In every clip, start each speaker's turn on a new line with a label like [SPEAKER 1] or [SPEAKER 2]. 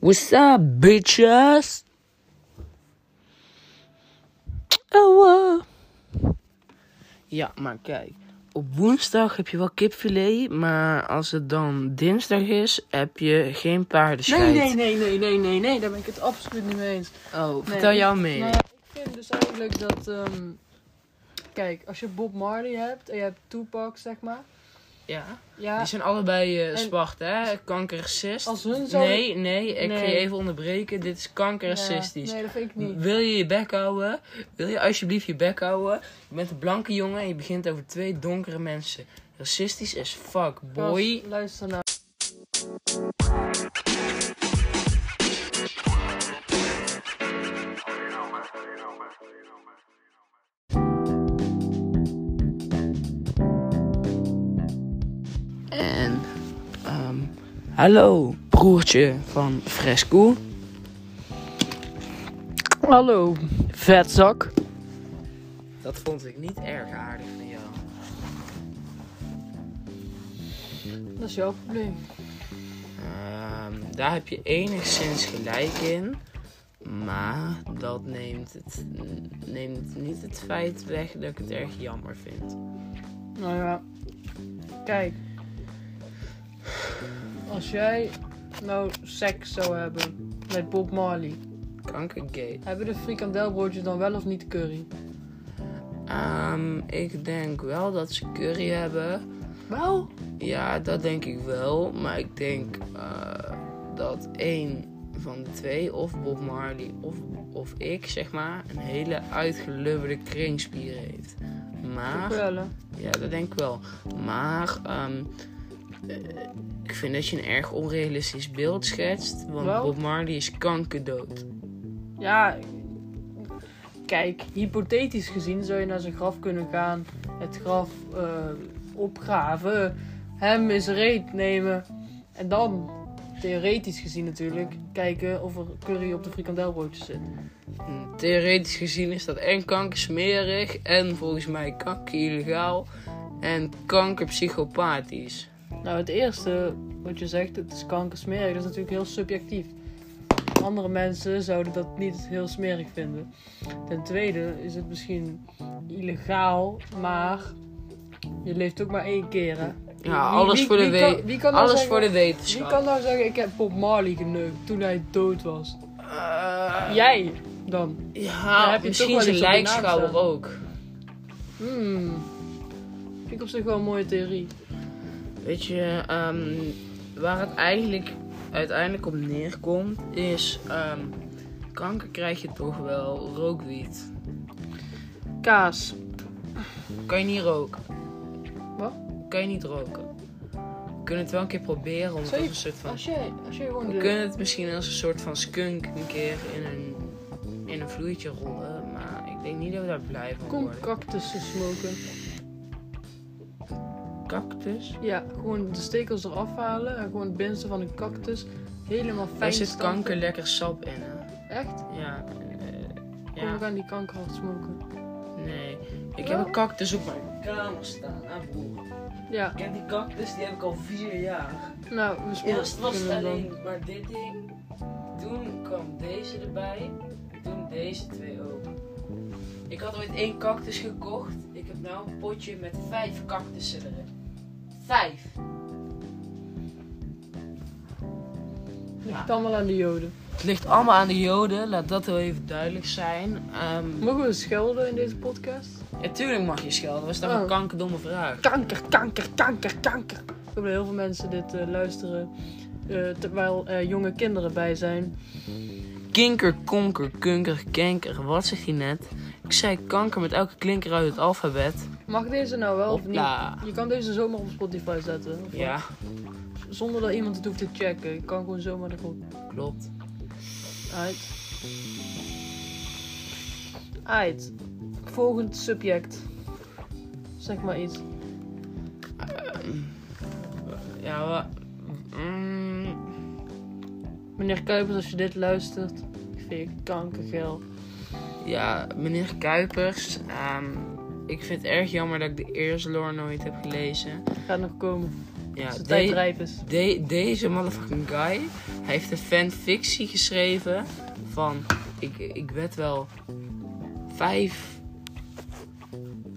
[SPEAKER 1] What's up, bitches? Oh, eh. Ja, maar kijk. Op woensdag heb je wel kipfilet, maar als het dan dinsdag is, heb je geen
[SPEAKER 2] Nee,
[SPEAKER 1] paardenscheid.
[SPEAKER 2] nee, nee, nee, nee, nee, nee, daar ben ik het absoluut niet mee eens.
[SPEAKER 1] Oh,
[SPEAKER 2] Nee,
[SPEAKER 1] vertel
[SPEAKER 2] ik-
[SPEAKER 1] jouw mening.
[SPEAKER 2] Nou, ik vind dus eigenlijk dat, ehm, kijk, als je Bob Marley hebt en je hebt Tupac, zeg maar.
[SPEAKER 1] Ja,
[SPEAKER 2] Ja,
[SPEAKER 1] die zijn allebei eh,
[SPEAKER 2] En-
[SPEAKER 1] zwart, hè? Kankerracist.
[SPEAKER 2] als hun zo...
[SPEAKER 1] Nee, nee, ik ga
[SPEAKER 2] Nee.
[SPEAKER 1] je even onderbreken. Dit is kankerracistisch.
[SPEAKER 2] Ja, nee, dat vind ik niet.
[SPEAKER 1] Wil je je bek houden? Wil je alsjeblieft je bek houden? Je bent een blanke jongen en je begint over twee donkere mensen. Racistisch as fuck, boy.
[SPEAKER 2] Gast, luister nou.
[SPEAKER 1] En, ehm, hallo broertje van Fresco.
[SPEAKER 2] Hallo, vetzak.
[SPEAKER 1] Dat vond ik niet erg aardig van jou.
[SPEAKER 2] Dat is jouw probleem.
[SPEAKER 1] Ehm, daar heb je enigszins gelijk in. Maar dat neemt, het, neemt niet het feit weg dat ik het erg jammer vind.
[SPEAKER 2] Nou ja, kijk. Als jij nou seks zou hebben met Bob Marley,
[SPEAKER 1] Kankergay.
[SPEAKER 2] hebben de frikandelbroodjes dan wel of niet curry?
[SPEAKER 1] Ehm, ik denk wel dat ze curry hebben.
[SPEAKER 2] Wel?
[SPEAKER 1] Ja, dat denk ik wel. Maar ik denk eh, dat één van de twee, of Bob Marley of, of ik, zeg maar, een hele uitgelubberde kringspier heeft. Maar
[SPEAKER 2] Krullen.
[SPEAKER 1] Ja, dat denk ik wel. Maar ehm, eh, ik vind dat je een erg onrealistisch beeld schetst. Want
[SPEAKER 2] Wel?
[SPEAKER 1] Bob Marley is kankerdood.
[SPEAKER 2] Ja, kijk, hypothetisch gezien zou je naar zijn graf kunnen gaan, het graf eh, opgraven, hem eens reet nemen en dan, theoretisch gezien natuurlijk, kijken of er curry op de frikandelbroodjes zit.
[SPEAKER 1] En Hmm, Theoretisch gezien is dat en kankersmerig en volgens mij kanker illegaal en kankerpsychopathisch.
[SPEAKER 2] Nou, het eerste wat je zegt, het is kankersmerig, dat is natuurlijk heel subjectief. Andere mensen zouden dat niet heel smerig vinden. Ten tweede is het misschien illegaal, maar je leeft ook maar één keer. Hè?
[SPEAKER 1] Ja, alles voor de
[SPEAKER 2] kan-
[SPEAKER 1] we-
[SPEAKER 2] wie kan nou
[SPEAKER 1] Alles
[SPEAKER 2] zeggen-
[SPEAKER 1] voor de
[SPEAKER 2] Wie
[SPEAKER 1] wetenschap.
[SPEAKER 2] kan nou zeggen, ik heb Bob Marley geneukt toen hij dood was?
[SPEAKER 1] Eh,
[SPEAKER 2] Jij dan?
[SPEAKER 1] ja,
[SPEAKER 2] heb je toch
[SPEAKER 1] misschien
[SPEAKER 2] wel
[SPEAKER 1] zijn
[SPEAKER 2] iets op je naam staan.
[SPEAKER 1] lijkschouwer ook.
[SPEAKER 2] Hmm. Vind ik op zich wel een mooie theorie.
[SPEAKER 1] Weet je, ehm, waar het eigenlijk uiteindelijk op neerkomt is... ehm, kanker krijg je toch wel rookwiet.
[SPEAKER 2] Kaas.
[SPEAKER 1] Kan je niet roken?
[SPEAKER 2] Wat?
[SPEAKER 1] Kan je niet roken? We kunnen het wel een keer proberen om het
[SPEAKER 2] Zou
[SPEAKER 1] als
[SPEAKER 2] je-
[SPEAKER 1] een soort van.
[SPEAKER 2] Als jij, als jij gewoon
[SPEAKER 1] We
[SPEAKER 2] de...
[SPEAKER 1] kunnen het misschien als een soort van skunk een keer in een, in een vloeitje rollen. Maar ik denk niet dat we daar blij van
[SPEAKER 2] Kom
[SPEAKER 1] worden.
[SPEAKER 2] cactussen smoken.
[SPEAKER 1] Cactus?
[SPEAKER 2] Ja, gewoon de stekels eraf halen en gewoon het binnenste van een cactus helemaal fijn
[SPEAKER 1] Daar zit
[SPEAKER 2] stampen.
[SPEAKER 1] kanker lekker sap in. Hè?
[SPEAKER 2] Echt?
[SPEAKER 1] Ja. eh,
[SPEAKER 2] Kom,
[SPEAKER 1] ja.
[SPEAKER 2] we gaan die kanker hard smoken.
[SPEAKER 1] Nee. Ik heb
[SPEAKER 2] Wel?
[SPEAKER 1] een cactus op mijn kamer staan. Ah, broer.
[SPEAKER 2] Ja,
[SPEAKER 1] Ik heb die cactus, die heb ik al vier jaar.
[SPEAKER 2] nou, we smoken
[SPEAKER 1] Eerst was het
[SPEAKER 2] hem dan.
[SPEAKER 1] alleen maar dit ding. Toen kwam deze erbij. Toen deze twee ook. Ik had ooit één cactus gekocht. Ik heb nu een potje met vijf cactussen erin. Vijf.
[SPEAKER 2] Ligt allemaal aan de joden.
[SPEAKER 1] Het ligt allemaal aan de joden, laat dat wel even duidelijk zijn. Ehm
[SPEAKER 2] Mogen we schelden in deze podcast?
[SPEAKER 1] natuurlijk mag je schelden, was dat een
[SPEAKER 2] Oh.
[SPEAKER 1] kankerdomme vraag.
[SPEAKER 2] Kanker, kanker, kanker, kanker. Ik hoop dat heel veel mensen dit eh, luisteren eh, terwijl er jonge kinderen bij zijn.
[SPEAKER 1] Kinker, konker, kunker, kenker, wat zegt hij net? Ik zei kanker met elke klinker uit het alfabet.
[SPEAKER 2] Mag deze nou wel of niet?
[SPEAKER 1] Hopla.
[SPEAKER 2] Je kan deze zomaar op Spotify zetten. of
[SPEAKER 1] Ja,
[SPEAKER 2] wat? Zonder dat iemand het hoeft te checken. Je kan gewoon zomaar erop.
[SPEAKER 1] klopt.
[SPEAKER 2] Uit. Uit. Volgend subject. Zeg maar iets.
[SPEAKER 1] Ja, wa- mm,
[SPEAKER 2] Meneer Kuipers, als je dit luistert, ik vind je kankergeil.
[SPEAKER 1] ja, meneer Kuipers. ehm, ik vind het erg jammer dat ik de Eersloor nooit heb gelezen.
[SPEAKER 2] Gaat nog komen.
[SPEAKER 1] Ja,
[SPEAKER 2] als de
[SPEAKER 1] de-
[SPEAKER 2] tijd rijp is.
[SPEAKER 1] de- deze motherfucking guy, hij heeft een fanfictie geschreven van, ik, ik weet wel, vijf,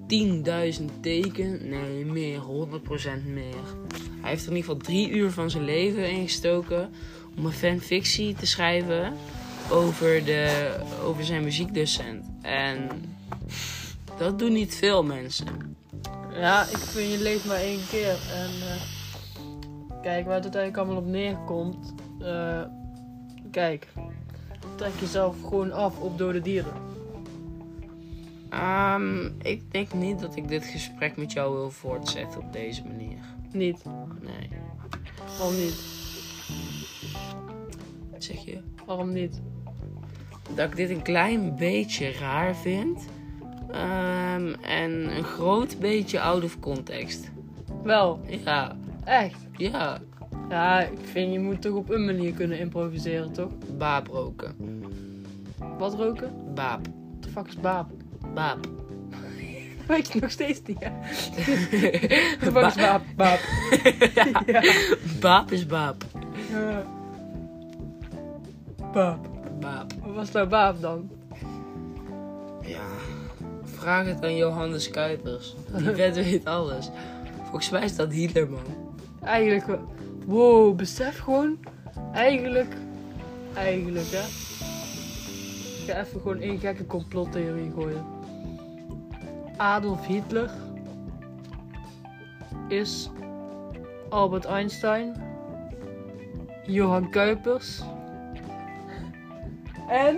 [SPEAKER 1] 10.000 teken, nee meer, 100% meer. Hij heeft er in ieder geval drie uur van zijn leven in gestoken om een fanfictie te schrijven over, de, over zijn muziekdocent. En dat doen niet veel mensen.
[SPEAKER 2] Ja, ik vind je leeft maar één keer. En eh, kijk, waar het uiteindelijk allemaal op neerkomt. eh, kijk, trek jezelf gewoon af op dode dieren.
[SPEAKER 1] Ehm, ik denk niet dat ik dit gesprek met jou wil voortzetten op deze manier.
[SPEAKER 2] Niet,
[SPEAKER 1] Nee,
[SPEAKER 2] waarom niet?
[SPEAKER 1] wat zeg je?
[SPEAKER 2] Waarom niet?
[SPEAKER 1] Dat ik dit een klein beetje raar vind. Ehm, en een groot beetje out of context.
[SPEAKER 2] Wel,
[SPEAKER 1] Ja,
[SPEAKER 2] echt.
[SPEAKER 1] ja,
[SPEAKER 2] Ja, ik vind je moet toch op een manier kunnen improviseren, toch?
[SPEAKER 1] baap roken.
[SPEAKER 2] Wat roken?
[SPEAKER 1] Baap,
[SPEAKER 2] What the fuck is baap?
[SPEAKER 1] baap.
[SPEAKER 2] Dat weet je nog steeds niet, hè? What the fuck is baap? Baap. ja.
[SPEAKER 1] baap is baap.
[SPEAKER 2] Eh, Baap.
[SPEAKER 1] Baap.
[SPEAKER 2] Wat was nou baap dan?
[SPEAKER 1] Ja, vraag het aan Johannes Kuipers. Die wet weet alles. Volgens mij is dat Hitler, man.
[SPEAKER 2] Eigenlijk, wel- wow, besef gewoon. Eigenlijk, eigenlijk, hè? Ik ga even gewoon één gekke complottheorie gooien. Adolf Hitler is Albert Einstein, Johan Kuipers en,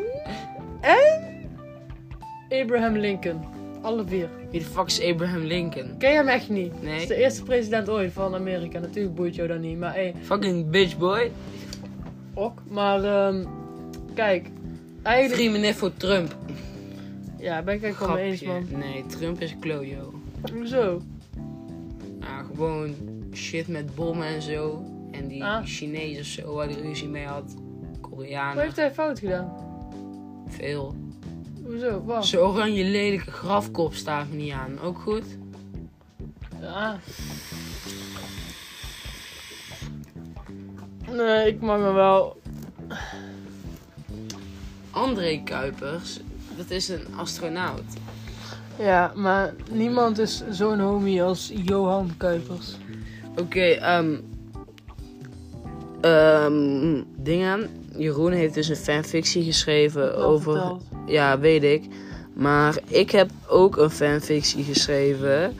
[SPEAKER 2] en Abraham Lincoln. Alle vier.
[SPEAKER 1] Wie de fuck is Abraham Lincoln?
[SPEAKER 2] Ken je hem echt niet?
[SPEAKER 1] Nee.
[SPEAKER 2] Dat is de eerste president ooit van Amerika. Natuurlijk boeit jou dat niet, maar hé,
[SPEAKER 1] Fucking bitch, boy.
[SPEAKER 2] ook. Maar ehm, kijk, eigenlijk...
[SPEAKER 1] Drie meneer voor Trump.
[SPEAKER 2] Ja, ben ik eigenlijk wel mee eens, man.
[SPEAKER 1] Nee, Trump is een klojo.
[SPEAKER 2] Hoezo?
[SPEAKER 1] Nou, gewoon shit met bommen en zo. En die
[SPEAKER 2] Ah.
[SPEAKER 1] Chinees of zo waar hij ruzie mee had.
[SPEAKER 2] Wat
[SPEAKER 1] Koreanen.
[SPEAKER 2] heeft hij fout gedaan?
[SPEAKER 1] Veel.
[SPEAKER 2] Hoezo? Wat?
[SPEAKER 1] Zijn oranje lelijke grafkop staat me niet aan. Ook goed?
[SPEAKER 2] Ja. Nee, ik mag me wel...
[SPEAKER 1] André Kuipers, dat is een astronaut.
[SPEAKER 2] Ja, maar niemand is zo'n homie als Johan Kuipers.
[SPEAKER 1] Eh, Oké, ehm. ehm, dingen. Jeroen heeft dus een fanfictie geschreven
[SPEAKER 2] Al
[SPEAKER 1] over.
[SPEAKER 2] verteld.
[SPEAKER 1] Ja, weet ik. Maar ik heb ook een fanfictie geschreven.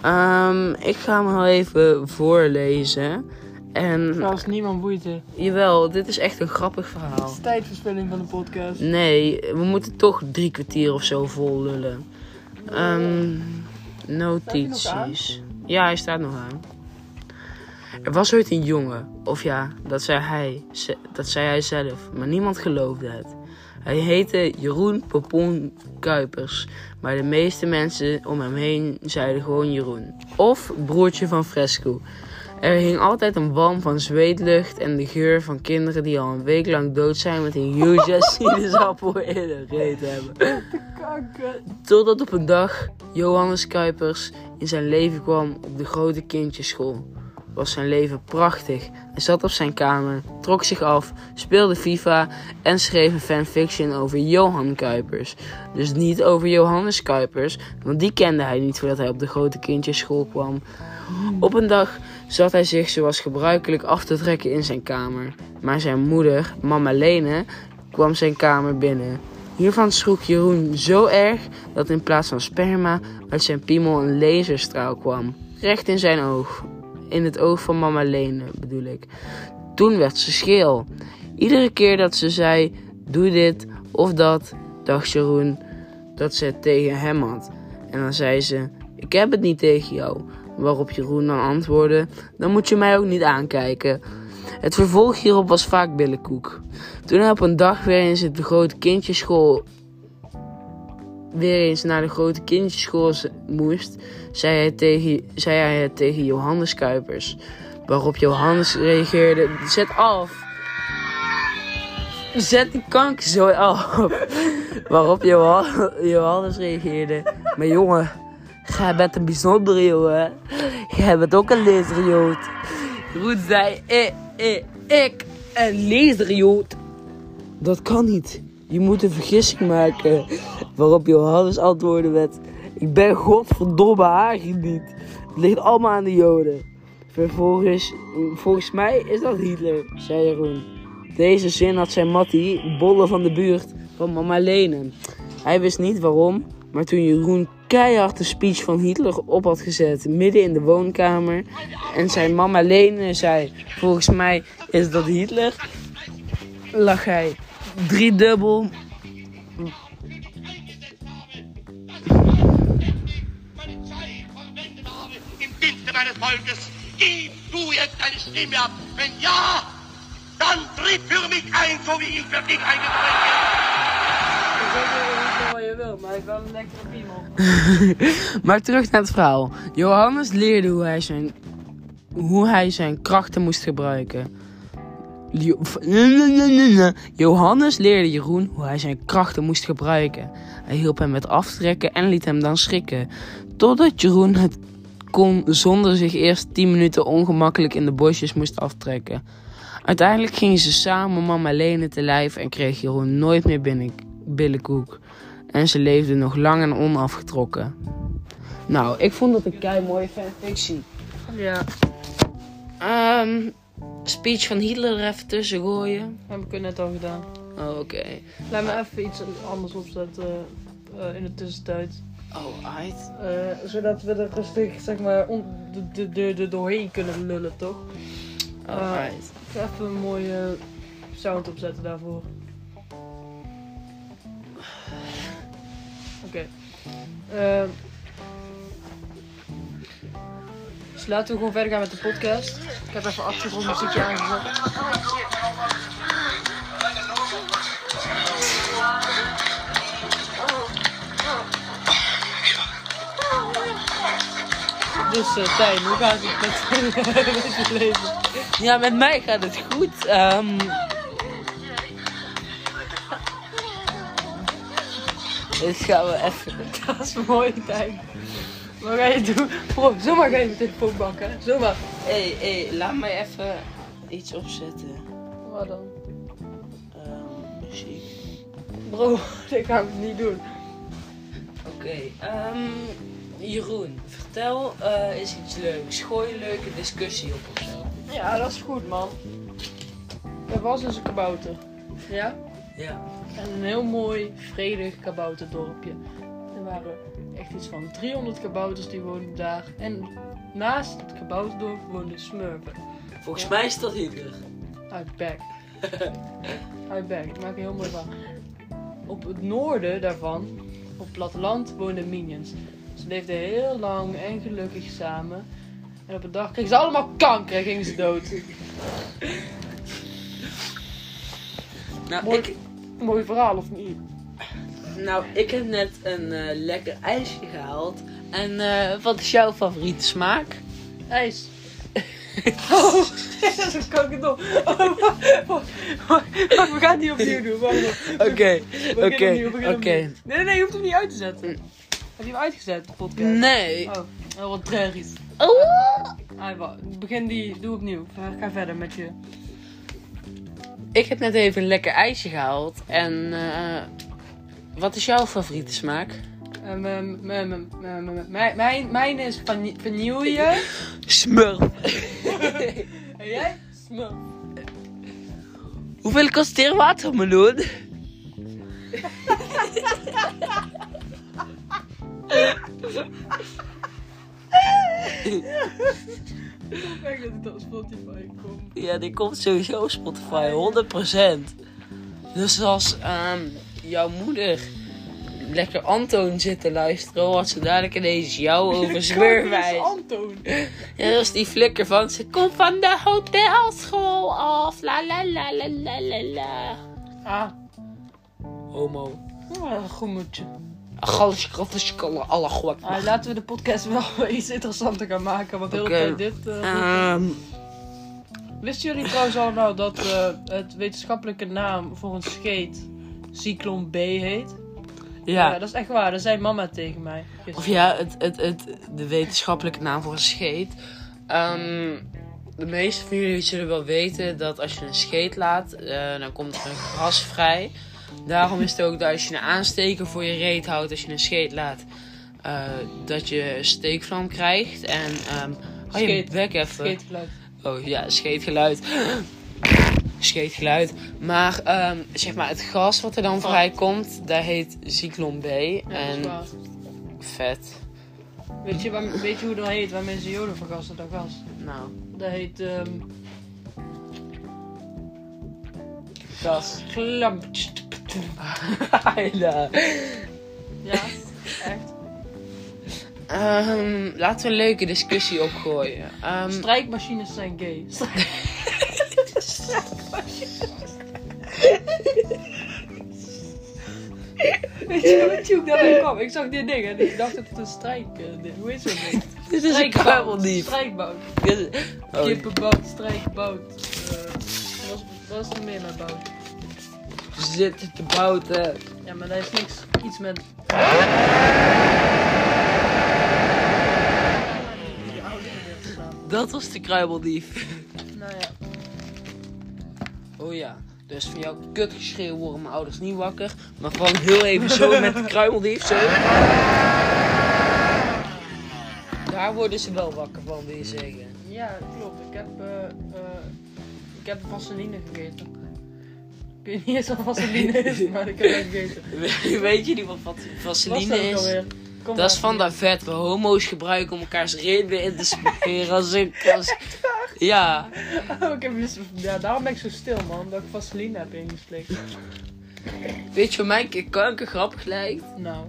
[SPEAKER 1] Ehm, ik ga hem al even voorlezen. En
[SPEAKER 2] Trouwens, niemand boeit het.
[SPEAKER 1] jawel, dit is echt een grappig
[SPEAKER 2] Het
[SPEAKER 1] verhaal.
[SPEAKER 2] is tijdverspilling van de podcast.
[SPEAKER 1] Nee, we moeten toch drie kwartier of zo vol lullen. Ehm, notities. Ja, hij staat nog aan. Er was ooit een jongen, of ja, dat zei hij, ze- dat zei hij zelf, maar niemand geloofde het. Hij heette Jeroen Popon Kuipers, maar de meeste mensen om hem heen zeiden gewoon Jeroen. Of broertje van Fresco. Er hing altijd een walm van zweetlucht en de geur van kinderen die al een week lang dood zijn met een huge sinaasappel in hun reet hebben.
[SPEAKER 2] Kakker.
[SPEAKER 1] Totdat op een dag Johannes Kuipers in zijn leven kwam op de grote kindjesschool. Was zijn leven prachtig. Hij zat op zijn kamer, trok zich af, speelde FIFA en schreef een fanfiction over Johan Kuipers. Dus niet over Johannes Kuipers, want die kende hij niet voordat hij op de grote kindjesschool kwam. Op een dag zat hij zich zoals gebruikelijk af te trekken in zijn kamer. Maar zijn moeder, mama Lene, kwam zijn kamer binnen. Hiervan schrok Jeroen zo erg dat in plaats van sperma uit zijn piemel een laserstraal kwam. Recht in zijn oog. In het oog van mama Lene bedoel ik. Toen werd ze scheel. Iedere keer dat ze zei: Doe dit of dat, dacht Jeroen dat ze het tegen hem had. En dan zei ze: Ik heb het niet tegen jou. Waarop Jeroen dan antwoordde: Dan moet je mij ook niet aankijken. Het vervolg hierop was vaak billenkoek. Toen hij op een dag weer eens op de grote kindjesschool weer eens naar de grote kindjesschool z- moest, zei hij, tegen, zei hij het tegen Johannes Kuipers. Waarop Johannes reageerde: Zet af! Zet die kankerzooi af! Waarop Johan- Johannes reageerde: Maar jongen, jij bent een bijzondere jongen. Jij bent ook een laserjood. Roet zei, eh, eh, ik, een leesrioot. Dat kan niet. Je moet een vergissing maken. Waarop Johannes antwoordde met, ik ben godverdomme Hagen niet. Het ligt allemaal aan de joden. Vervolgens, volgens mij is dat Hitler, zei Jeroen. Deze zin had zijn Mattie, bolle van de buurt, van mama lenen. Hij wist niet waarom, maar toen Jeroen keihard de speech van Hitler op had gezet, midden in de woonkamer, en zijn mama Lene zei: Volgens mij is dat Hitler, lag hij driedubbel.
[SPEAKER 3] Polizei, verwende habe im Dienste meines Volkes. Gib du jetzt deine Stimme ab. Wenn ja, dann tritt für mich ein, so wie ich für dich eingetreten bin.
[SPEAKER 2] Ik weet niet wat je wil, maar ik wil een lekkere piemel.
[SPEAKER 1] Maar terug naar het verhaal. Johannes leerde hoe hij zijn, hoe hij zijn krachten moest gebruiken. Jo- Johannes leerde Jeroen hoe hij zijn krachten moest gebruiken. Hij hielp hem met aftrekken en liet hem dan schrikken. Totdat Jeroen het kon zonder zich eerst 10 minuten ongemakkelijk in de bosjes moest aftrekken. Uiteindelijk gingen ze samen mama Lene te lijf en kreeg Jeroen nooit meer binnen, billenkoek. En ze leefden nog lang en onafgetrokken. Nou, ik vond dat een kei mooie fanfictie.
[SPEAKER 2] Ja,
[SPEAKER 1] Ehm, speech van Hitler er even tussen gooien.
[SPEAKER 2] heb ik net al gedaan.
[SPEAKER 1] Oh, Oké.
[SPEAKER 2] Laat me even iets anders opzetten eh, eh, in de tussentijd.
[SPEAKER 1] Oh, uit.
[SPEAKER 2] Eh, zodat we er rustig zeg maar on- de, de, de, de doorheen kunnen lullen, toch?
[SPEAKER 1] Oh, uit.
[SPEAKER 2] Ik ga Even een mooie sound opzetten daarvoor. Oké. Ehm dus laten we gewoon verder gaan met de podcast. Ik heb even achtergrondmuziekje aangezet. Dus eh Tijn, hoe gaat het met, met je leven?
[SPEAKER 1] Ja, met mij gaat het goed. Ehm, Dit gaan we even.
[SPEAKER 2] Dat is een mooie tijd. Wat ga je doen? Bro, zomaar ga je met telefoon bakken. Zomaar.
[SPEAKER 1] Hé, hey, hey, laat mij even iets opzetten.
[SPEAKER 2] Wat dan?
[SPEAKER 1] Ehm, muziek.
[SPEAKER 2] Bro, dit gaan we niet doen.
[SPEAKER 1] Oké, ehm, Jeroen, vertel eh, eens iets leuks. Gooi een leuke discussie op of zo.
[SPEAKER 2] Ja, dat is goed, man. Er was dus een kabouter. Ja?
[SPEAKER 1] Ja.
[SPEAKER 2] En een heel mooi, vredig kabouterdorpje. Er waren echt iets van 300 kabouters die woonden daar. En naast het kabouterdorp woonden smurfen.
[SPEAKER 1] Volgens mij is dat Hitler.
[SPEAKER 2] Uit Beck. Uit Beck, ik maak er heel mooi van. Op het noorden daarvan, op het platteland, woonden minions. Ze leefden heel lang en gelukkig samen. En op een dag kregen ze allemaal kanker en gingen ze dood.
[SPEAKER 1] Nou
[SPEAKER 2] Mooi.
[SPEAKER 1] ik,
[SPEAKER 2] Mooi verhaal of niet?
[SPEAKER 1] nou, ik heb net een eh, lekker ijsje gehaald. En eh, wat is jouw favoriete smaak?
[SPEAKER 2] IJs. Oh, dat is kankerdom. Oh, wacht, wacht, wacht, we gaan het niet opnieuw doen. Wacht, wacht.
[SPEAKER 1] Oké,
[SPEAKER 2] We beginnen opnieuw, we beginnen opnieuw. Nee, nee, nee, je hoeft hem niet uit te zetten. Heb je hem uitgezet, de podcast?
[SPEAKER 1] Nee.
[SPEAKER 2] Oh, oh, wat tragisch.
[SPEAKER 1] Oh.
[SPEAKER 2] Ah, wa- begin die, doe opnieuw. Ga ga verder met je.
[SPEAKER 1] Ik heb net even een lekker ijsje gehaald. En eh, wat is jouw favoriete smaak?
[SPEAKER 2] Eh, m- m- m- m- m- m- ehm, Mijn mijn- mijn is van- vanille.
[SPEAKER 1] Smurf.
[SPEAKER 2] En jij? Smurf.
[SPEAKER 1] Hoeveel kost hier watermeloen?
[SPEAKER 2] Ik denk dat het op Spotify komt.
[SPEAKER 1] Ja, die komt sowieso op Spotify, 100%. Dus als ehm, jouw moeder lekker Antoon zit te luisteren, hoort ze dadelijk ineens jou over
[SPEAKER 2] Kanker
[SPEAKER 1] zwerwijs.
[SPEAKER 2] is Antoon.
[SPEAKER 1] Ja, dat is die flikker van ze komt van de hotelschool af. La la la la la la la.
[SPEAKER 2] Ah,
[SPEAKER 1] Homo.
[SPEAKER 2] ah, goed moedje.
[SPEAKER 1] Gallische kraftenskalle, alle god.
[SPEAKER 2] Ah, laten we de podcast wel iets interessanter gaan maken. Want heel
[SPEAKER 1] Oké.
[SPEAKER 2] veel dit... eh,
[SPEAKER 1] Ehm,
[SPEAKER 2] Wisten jullie trouwens al nou dat eh, het wetenschappelijke naam voor een scheet Cyclon B heet?
[SPEAKER 1] ja.
[SPEAKER 2] dat is echt waar. Dat zei mama tegen mij. gisteren.
[SPEAKER 1] Of ja, het, het, het, de wetenschappelijke naam voor een scheet. Ehm, de meeste van jullie zullen wel weten dat als je een scheet laat, eh, dan komt er een gras vrij. Daarom is het ook dat als je een aansteker voor je reet houdt, als je een scheet laat, eh, dat je steekvlam krijgt. En ehm hou je
[SPEAKER 2] Scheet.
[SPEAKER 1] bek even.
[SPEAKER 2] Scheetgeluid.
[SPEAKER 1] Oh ja, scheetgeluid. Scheetgeluid. Maar ehm, zeg maar, het gas wat er dan vrijkomt, dat heet Zyklon B.
[SPEAKER 2] Ja, dat is
[SPEAKER 1] en
[SPEAKER 2] waar.
[SPEAKER 1] vet.
[SPEAKER 2] Weet je, waar- weet je hoe dat heet? Waar mensen joden vergassen, dat gas.
[SPEAKER 1] Nou,
[SPEAKER 2] Dat heet ehm
[SPEAKER 1] gas.
[SPEAKER 2] glam.
[SPEAKER 1] Heila.
[SPEAKER 2] Ja, echt.
[SPEAKER 1] Ehm, laten we een leuke discussie opgooien. Ehm,
[SPEAKER 2] Strijkmachines zijn gay. Strijk- Weet je wat je ook daarmee kwam? Ik zag dit ding en ik dacht dat het een strijk... eh, dit- hoe is het ding?
[SPEAKER 1] dit is een kabeldief.
[SPEAKER 2] Strijkbout.
[SPEAKER 1] Dit is- Oh,
[SPEAKER 2] Kippenbout, strijkbout. eh, wat was- wat is er meer met bout?
[SPEAKER 1] zitten te bouten.
[SPEAKER 2] Ja, maar dat heeft niks... Iets met... Die oude dingen gedaan.
[SPEAKER 1] Dat was de kruimeldief.
[SPEAKER 2] Nou ja.
[SPEAKER 1] Oh ja, dus van jouw kutgeschreeuw worden mijn ouders niet wakker. Maar gewoon heel even zo met de kruimeldief, zo. Daar worden ze wel wakker van, wil je zeggen.
[SPEAKER 2] Ja, klopt. Ik heb, eh eh, ik heb vaseline gegeten. Ik weet niet eens wat vaseline is, maar ik heb het gegeten.
[SPEAKER 1] Weet je niet wat wat
[SPEAKER 2] Wat
[SPEAKER 1] vaseline
[SPEAKER 2] ook
[SPEAKER 1] is?
[SPEAKER 2] alweer? Kom
[SPEAKER 1] Dat is
[SPEAKER 2] maar.
[SPEAKER 1] van dat vet we homo's gebruiken om elkaars redenen in te smeren. Als ik, als... Ja,
[SPEAKER 2] Oh, ik heb dus- ja, daarom ben ik zo stil, man. Omdat ik vaseline heb ingeslikt.
[SPEAKER 1] weet je wat mij een keer kanker grappig lijkt?
[SPEAKER 2] Nou,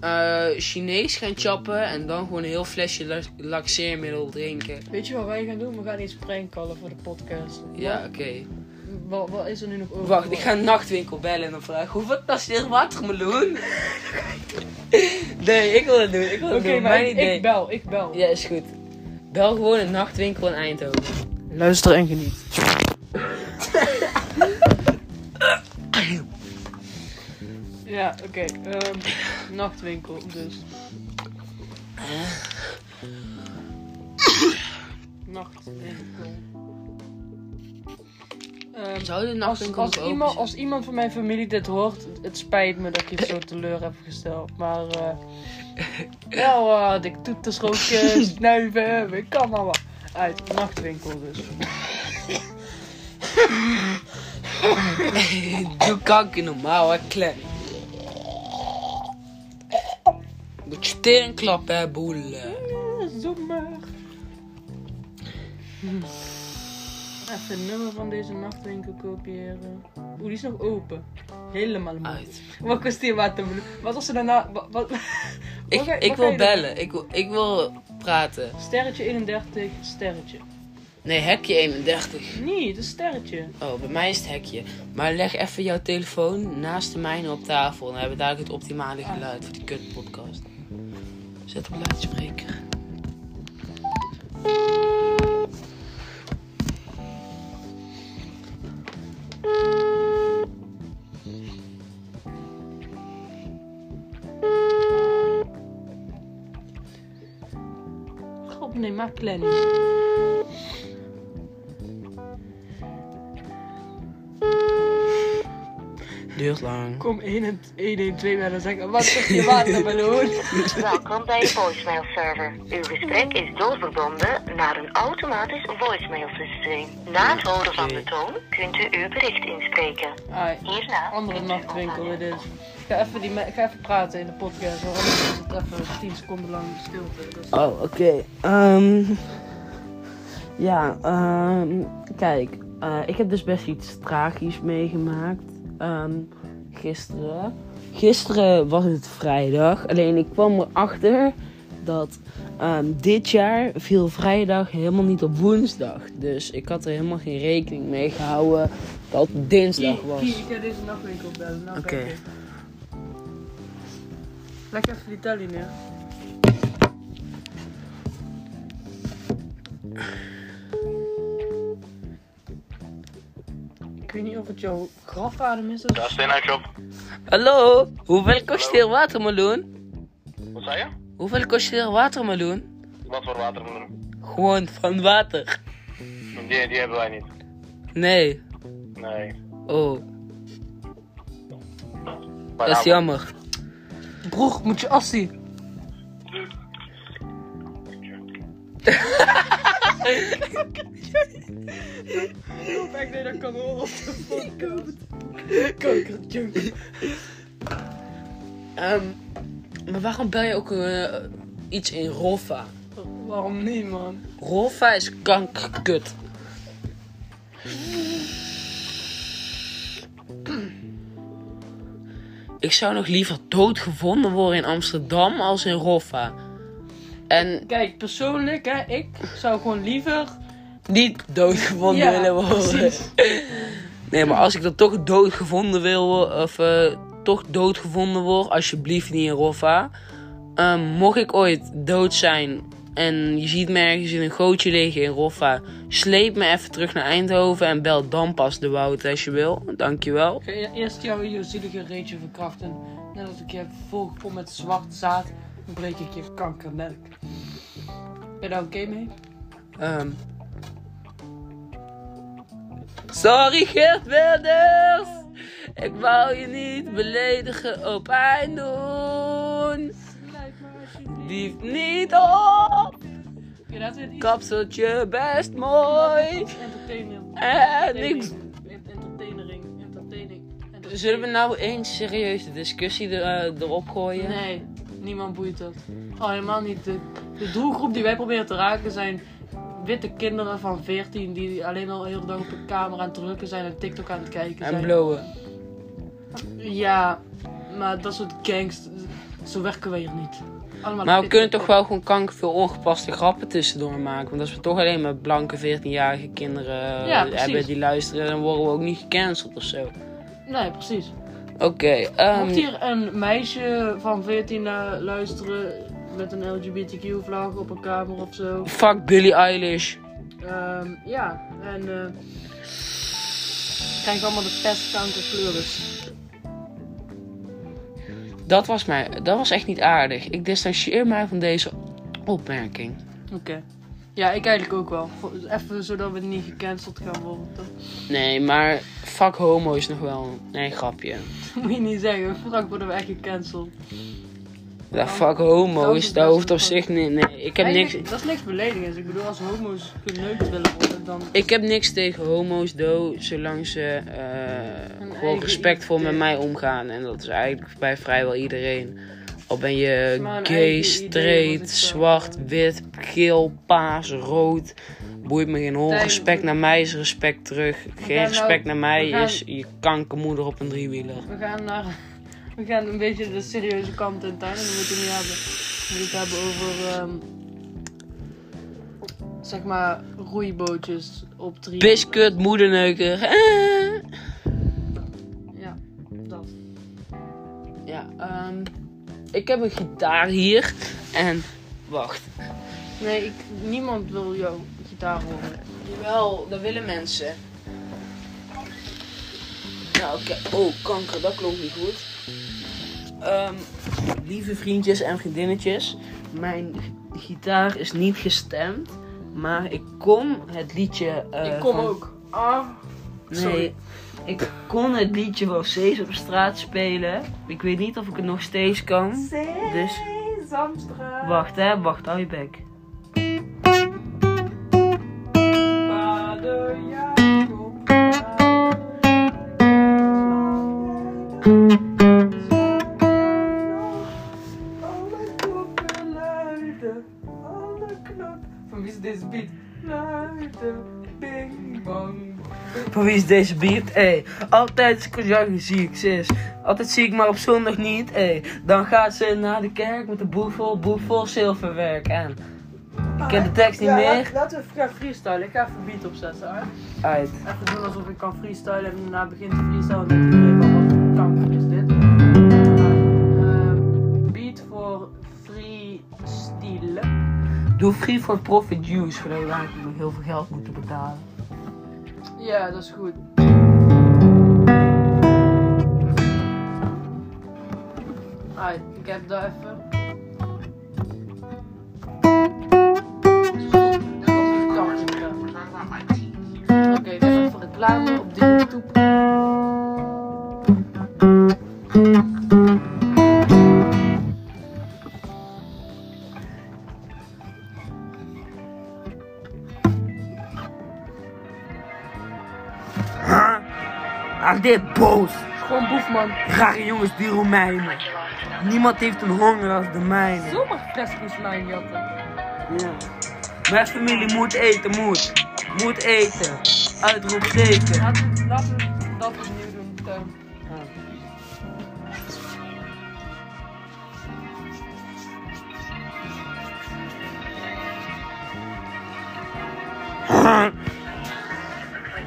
[SPEAKER 1] Eh, Chinees gaan chappen en dan gewoon een heel flesje la- laxeermiddel drinken.
[SPEAKER 2] weet je wat wij gaan doen? We gaan iets prankcallen voor de podcast.
[SPEAKER 1] Ja, oké.
[SPEAKER 2] Wat, wat, wat is er nu nog over?
[SPEAKER 1] Wacht, ik ga een nachtwinkel bellen en dan vragen hoeveel past dit watermeloen? Nee, ik wil het doen. Ik wil het
[SPEAKER 2] Oké,
[SPEAKER 1] doen.
[SPEAKER 2] maar
[SPEAKER 1] Mijn
[SPEAKER 2] ik,
[SPEAKER 1] idee.
[SPEAKER 2] ik bel, ik bel.
[SPEAKER 1] Ja, is goed. Bel gewoon een nachtwinkel in Eindhoven.
[SPEAKER 2] Luister en geniet. Ja, oké. ehm, nachtwinkel dus. Nachtwinkel. Ehm,
[SPEAKER 1] Zou de
[SPEAKER 2] als,
[SPEAKER 1] nachtwinkel
[SPEAKER 2] als,
[SPEAKER 1] nog open
[SPEAKER 2] iemand,
[SPEAKER 1] zijn?
[SPEAKER 2] als iemand van mijn familie dit hoort, het spijt me dat ik je zo teleur heb gesteld. Maar eh wel eh, dik toeters roken, snuiven, ik kan allemaal. Uit, nachtwinkel dus.
[SPEAKER 1] Doe kanker normaal, hè, klem. Moet je tegenklap, hè, boel.
[SPEAKER 2] Eh, Zomer. Even het nummer van deze nachtwinkel kopiëren. Oeh, die is nog open. Helemaal mooi.
[SPEAKER 1] Uit.
[SPEAKER 2] Wat kost die watermeloen? Wat als ze daarna... Wat, wat, wat
[SPEAKER 1] Ik,
[SPEAKER 2] ga-
[SPEAKER 1] ik
[SPEAKER 2] wat ga
[SPEAKER 1] wil
[SPEAKER 2] je doen?
[SPEAKER 1] bellen. Ik wil, ik wil praten.
[SPEAKER 2] Sterretje 31, sterretje.
[SPEAKER 1] Nee, hekje 31.
[SPEAKER 2] Nee, het is sterretje.
[SPEAKER 1] Oh, bij mij is het hekje. Maar leg even jouw telefoon naast de mijne op tafel. Dan hebben we dadelijk het optimale geluid voor die kutpodcast. Zet op luidspreker.
[SPEAKER 2] God, nee, maak klein.
[SPEAKER 1] Duurt lang.
[SPEAKER 2] Kom 112 bij en zeggen, wat kost die watermeloen?
[SPEAKER 4] Welkom bij de voicemail server. Uw gesprek is doorverbonden naar een automatisch voicemail systeem. Na het horen van de toon kunt u uw bericht inspreken.
[SPEAKER 2] Ai,
[SPEAKER 4] Hierna
[SPEAKER 2] andere
[SPEAKER 4] kunt u
[SPEAKER 2] nachtwinkel
[SPEAKER 4] ophangen.
[SPEAKER 2] dit is. Ik ga even, die, me- ik ga even praten in de podcast, hoor. Anders is het even 10 seconden lang stilte. Dus-
[SPEAKER 1] Oh, oké. Ehm, ja, ehm, kijk. eh, ik heb dus best iets tragisch meegemaakt. ehm, gisteren. Gisteren was het vrijdag. Alleen ik kwam erachter dat ehm, dit jaar viel vrijdag helemaal niet op woensdag. Dus ik had er helemaal geen rekening mee gehouden dat het dinsdag
[SPEAKER 2] Kie, Kie,
[SPEAKER 1] was.
[SPEAKER 2] ik ga deze nachtwinkel bellen. Nou,
[SPEAKER 1] Oké.
[SPEAKER 2] kijk ik. Leg even die telly neer. Ik weet niet of het jouw grafadem is of...
[SPEAKER 5] Ja, Steenhuisjob.
[SPEAKER 1] Hallo, hoeveel kost hier watermeloen?
[SPEAKER 5] Wat zei je?
[SPEAKER 1] Hoeveel kost hier watermeloen?
[SPEAKER 5] Wat voor watermeloen?
[SPEAKER 1] Gewoon van water.
[SPEAKER 5] Hm. Die, die hebben wij niet.
[SPEAKER 1] Nee.
[SPEAKER 5] Nee.
[SPEAKER 1] Oh,
[SPEAKER 5] Maar
[SPEAKER 1] dat is
[SPEAKER 5] nou,
[SPEAKER 1] jammer.
[SPEAKER 2] Broer, moet je assie. Ik hoop echt dat je dat kan horen op de podcast. Kankerjunk.
[SPEAKER 1] Ehm, maar waarom bel je ook eh, iets in Rofa?
[SPEAKER 2] Waarom niet, man?
[SPEAKER 1] Rofa is kankerkut. Ik zou nog liever doodgevonden worden in Amsterdam als in Rofa. En
[SPEAKER 2] Kijk, persoonlijk, hè, ik zou gewoon liever...
[SPEAKER 1] niet doodgevonden
[SPEAKER 2] Ja,
[SPEAKER 1] willen worden.
[SPEAKER 2] precies.
[SPEAKER 1] Nee, maar als ik dan toch doodgevonden wil, wo- of eh, toch doodgevonden word, alsjeblieft niet in Roffa. Ehm, mocht ik ooit dood zijn en je ziet me ergens in een gootje liggen in Roffa, sleep me even terug naar Eindhoven en bel dan pas de Wout als je wil. Dankjewel.
[SPEAKER 2] Ik ga e- eerst jou je zielige reetje verkrachten. Net als ik je heb volgepompt met zwart zaad, dan breek ik je kankermelk. Ben je daar oké mee?
[SPEAKER 1] Ehm. Sorry Geert Wilders! Ik wou je niet beledigen op Eindhoven.
[SPEAKER 2] Lijkt me alsjeblieft.
[SPEAKER 1] Lief niet op!
[SPEAKER 2] Oké, laten we het iets
[SPEAKER 1] kapseltje best mooi.
[SPEAKER 2] entertainen.
[SPEAKER 1] En niks.
[SPEAKER 2] Entertainering. Entertaining. entertaining.
[SPEAKER 1] Zullen we nou eens serieus de discussie er, eh, erop gooien?
[SPEAKER 2] Nee, niemand boeit dat. Al helemaal niet. De, de doelgroep die wij proberen te raken zijn witte kinderen van 14 die alleen al heel de dag op de camera aan het drukken zijn en TikTok aan het kijken
[SPEAKER 1] En
[SPEAKER 2] zijn.
[SPEAKER 1] blowen.
[SPEAKER 2] Ja, maar dat soort gangs, zo werken wij hier niet. Allemaal
[SPEAKER 1] Maar we
[SPEAKER 2] witte
[SPEAKER 1] kunnen toch
[SPEAKER 2] kinderen.
[SPEAKER 1] wel gewoon kanker veel ongepaste grappen tussendoor maken. Want als we toch alleen maar blanke 14-jarige kinderen eh,
[SPEAKER 2] Ja, precies.
[SPEAKER 1] hebben die luisteren, dan worden we ook niet gecanceld of zo.
[SPEAKER 2] Nee, precies.
[SPEAKER 1] Oké, ehm,
[SPEAKER 2] Mocht hier een meisje van 14 naar luisteren met een LGBTQ-vlag op een kamer of zo.
[SPEAKER 1] fuck Billie Eilish.
[SPEAKER 2] Ehm, ja, en eh krijg allemaal de dus. pestkankerfleuris.
[SPEAKER 1] Dat was, mij, dat was echt niet aardig. Ik distancieer mij van deze opmerking.
[SPEAKER 2] Oké. Ja, ik eigenlijk ook wel. Go- Even zodat we niet gecanceld gaan worden. Dat
[SPEAKER 1] Nee, maar fuck homo's nog wel. Nee, grapje.
[SPEAKER 2] moet je niet zeggen. Frank worden we echt gecanceld.
[SPEAKER 1] Ja, fuck homo's,
[SPEAKER 2] Homo's
[SPEAKER 1] dat hoeft op
[SPEAKER 2] best
[SPEAKER 1] zich niet. Nee, ik heb niks,
[SPEAKER 2] Eigenlijk, Dat is niks beledigends. Ik bedoel, als homo's geneukt willen worden, dan...
[SPEAKER 1] ik heb niks tegen homo's, do, zolang ze eh,
[SPEAKER 2] Hun
[SPEAKER 1] gewoon
[SPEAKER 2] eigen
[SPEAKER 1] respectvol met
[SPEAKER 2] identiteit.
[SPEAKER 1] mij omgaan. En dat is eigenlijk bij vrijwel iedereen. Al ben je
[SPEAKER 2] Maar een eigen
[SPEAKER 1] gay,
[SPEAKER 2] idee wordt
[SPEAKER 1] straight,
[SPEAKER 2] het zo.
[SPEAKER 1] zwart, wit, geel, paas, rood. Boeit me geen hol.
[SPEAKER 2] Tijn,
[SPEAKER 1] Respect
[SPEAKER 2] we-
[SPEAKER 1] naar mij is respect terug. Geen
[SPEAKER 2] nou-
[SPEAKER 1] respect naar mij
[SPEAKER 2] we gaan-
[SPEAKER 1] is je kankermoeder op een driewieler.
[SPEAKER 2] We gaan naar... We gaan een beetje de serieuze kant in tuin. En we moeten het niet hebben... We moeten het hebben over... ehm, zeg maar, roeibootjes op drie...
[SPEAKER 1] Biscuit, moederneuker. Eh.
[SPEAKER 2] Ja, dat.
[SPEAKER 1] Ja, ehm, ik heb een gitaar hier. En wacht.
[SPEAKER 2] Nee, ik, niemand wil jouw gitaar horen.
[SPEAKER 1] Jawel, dat willen mensen. Nou, oké. Oh, kanker, dat klonk niet goed. Ehm, lieve vriendjes en vriendinnetjes, mijn g- gitaar is niet gestemd. Maar ik kon het liedje. eh,
[SPEAKER 2] ik kom
[SPEAKER 1] van-
[SPEAKER 2] ook. Ah,
[SPEAKER 1] Nee,
[SPEAKER 2] sorry.
[SPEAKER 1] ik kon het liedje wel steeds op straat spelen. Ik weet niet of ik het nog steeds kan. Dus. Wacht, hè, wacht, hou je bek.
[SPEAKER 2] Vader Jacob. Van wie is deze beat? Luiden, bing bang.
[SPEAKER 1] Voor wie is deze beat? Ey, altijd is Kojagi ziek, sis. Altijd zie ik maar op zondag niet, ey. Dan gaat ze naar de kerk met een boek vol, boek vol zilverwerk. En ik ken de tekst niet meer.
[SPEAKER 2] Laten we even gaan freestylen. Ik ga even beat opzetten. Hè?
[SPEAKER 1] Uit.
[SPEAKER 2] Even doen alsof ik kan freestylen en daarna begint te freestylen. En dan denk ik van wat kanker is dit. Ehm, beat voor freestylen.
[SPEAKER 1] Doe free for profit juice, voor dat we eigenlijk nog heel veel geld moeten betalen.
[SPEAKER 2] Ja, dat is goed. Alright, ik heb dat even.
[SPEAKER 5] Aan dit boos.
[SPEAKER 2] Gewoon boefman.
[SPEAKER 5] Rare jongens die Romeinen.
[SPEAKER 4] Wat je laatste naam.
[SPEAKER 5] Niemand heeft een honger als de mijne.
[SPEAKER 2] Zomaar fresco's lijn jatten.
[SPEAKER 5] Ja. Mijn familie moet eten, moet. Moet eten. Uitroep zeker.
[SPEAKER 2] Laten we, laten we dat opnieuw doen, Teun.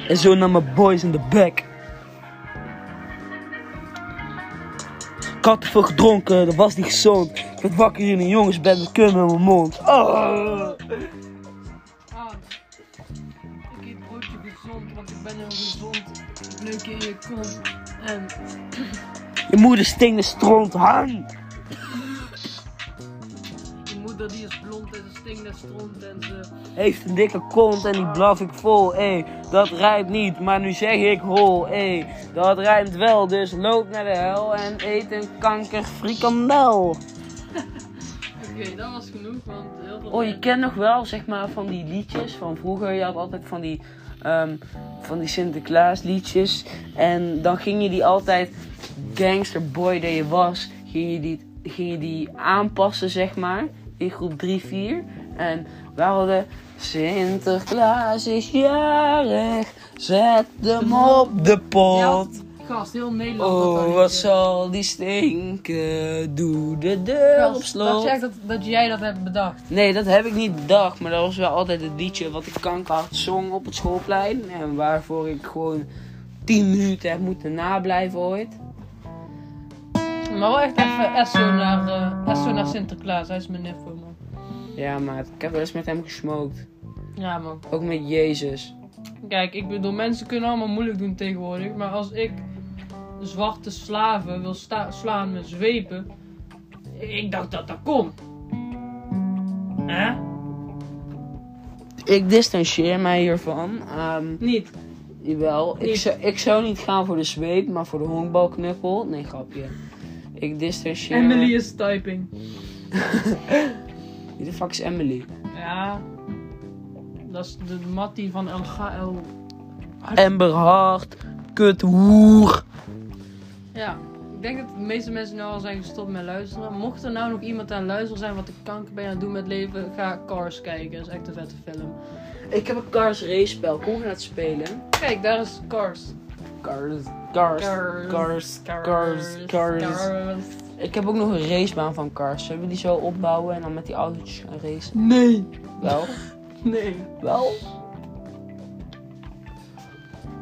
[SPEAKER 5] En zo naar mijn boys in de bek. Ik had te veel gedronken, dat was niet gezond. Ik werd wakker in een jongensbed met kum in mijn mond. Oh.
[SPEAKER 2] Ah, ik eet broodje gezond, want ik ben heel gezond. Leuk in je kont. En
[SPEAKER 5] Je moeder stinkt de stront, hang!
[SPEAKER 2] je moeder die is blond en ze stinkt naar stront en ze...
[SPEAKER 5] Heeft een dikke kont en die blaf ik vol, ey. Dat rijmt niet, maar nu zeg ik hol, ey. Dat rijmt wel, dus loop naar de hel en eet een kanker frikandel.
[SPEAKER 2] Oké, dat was genoeg, want heel veel...
[SPEAKER 5] Oh, je kent nog wel, zeg maar, van die liedjes van vroeger. Je had altijd van die, ehm, van die Sinterklaas liedjes. En dan ging je die altijd, gangster boy dat je was, ging je die, ging je die aanpassen, zeg maar. In groep 3, 4. En we hadden... Sinterklaas is jarig, zet hem op de pot.
[SPEAKER 2] Gast, heel Nederland. had dat
[SPEAKER 5] Oh,
[SPEAKER 2] liedje.
[SPEAKER 5] wat zal die stinken, doe de deur op
[SPEAKER 2] Gast, Dat
[SPEAKER 5] slot.
[SPEAKER 2] zegt dat, dat jij dat hebt bedacht.
[SPEAKER 5] Nee, dat heb ik niet bedacht, maar dat was wel altijd het liedje wat ik kankerhard zong op het schoolplein. En waarvoor ik gewoon 10 minuten heb moeten nablijven ooit.
[SPEAKER 2] Maar wel echt even Esso naar, eh, Esso naar Sinterklaas, hij is mijn nippo man.
[SPEAKER 5] Ja, maar ik heb wel eens met hem gesmokt.
[SPEAKER 2] Ja man.
[SPEAKER 5] Ook met Jezus.
[SPEAKER 2] Kijk, ik bedoel, mensen kunnen allemaal moeilijk doen tegenwoordig. Maar als ik zwarte slaven wil sta- slaan met zwepen. Ik dacht dat dat kon. Hè?
[SPEAKER 5] Ik distancieer mij hiervan. Ehm
[SPEAKER 2] Niet.
[SPEAKER 5] jawel, ik
[SPEAKER 2] Niet.
[SPEAKER 5] zou, ik zou niet gaan voor de zweep, maar voor de honkbalknuppel. Nee, grapje. Ik distancieer me-
[SPEAKER 2] Emily is typing.
[SPEAKER 5] Wie de fuck is Emily?
[SPEAKER 2] Ja. Dat is de mattie van LGL.
[SPEAKER 5] Amber Hart, kut woer.
[SPEAKER 2] Ja. Ik denk dat de meeste mensen nou al zijn gestopt met luisteren. Mocht er nou nog iemand aan luisteren zijn wat de kanker ben aan het doen met leven, ga Cars kijken. Dat is echt een vette film.
[SPEAKER 5] Ik heb een Cars race spel, kom naar het spelen.
[SPEAKER 2] Kijk, daar is Cars.
[SPEAKER 5] Cars, cars,
[SPEAKER 2] Cars,
[SPEAKER 5] cars, cars, cars. Ik heb ook nog een racebaan van cars. Zullen we die zo opbouwen en dan met die autootjes gaan racen?
[SPEAKER 2] Nee.
[SPEAKER 5] Wel,
[SPEAKER 2] Nee.
[SPEAKER 5] wel.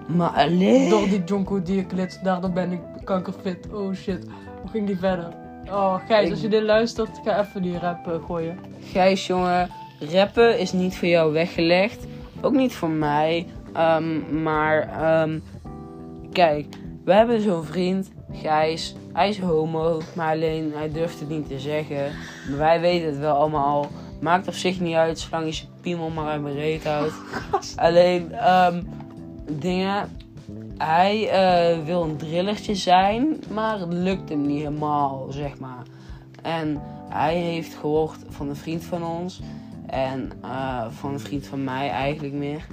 [SPEAKER 5] Maar alleen.
[SPEAKER 2] Door die jonko die ik klits, daardoor ben ik kankerfit. Oh shit. Hoe ging die verder? Oh, Gijs,
[SPEAKER 5] Ik-
[SPEAKER 2] als je dit luistert, ga even die rap eh, gooien.
[SPEAKER 5] Gijs, jongen, rappen is niet voor jou weggelegd. Ook niet voor mij. Ehm, maar, ehm, kijk, we hebben zo'n vriend, Gijs. Hij is homo, maar alleen hij durft het niet te zeggen. Maar wij weten het wel allemaal al. Maakt op zich niet uit, zolang je zijn piemel maar uit mijn reet houdt. alleen, ehm, dingen. Hij eh, wil een drillertje zijn, maar het lukt hem niet helemaal, zeg maar. En hij heeft gehoord van een vriend van ons. En eh, van een vriend van mij eigenlijk meer.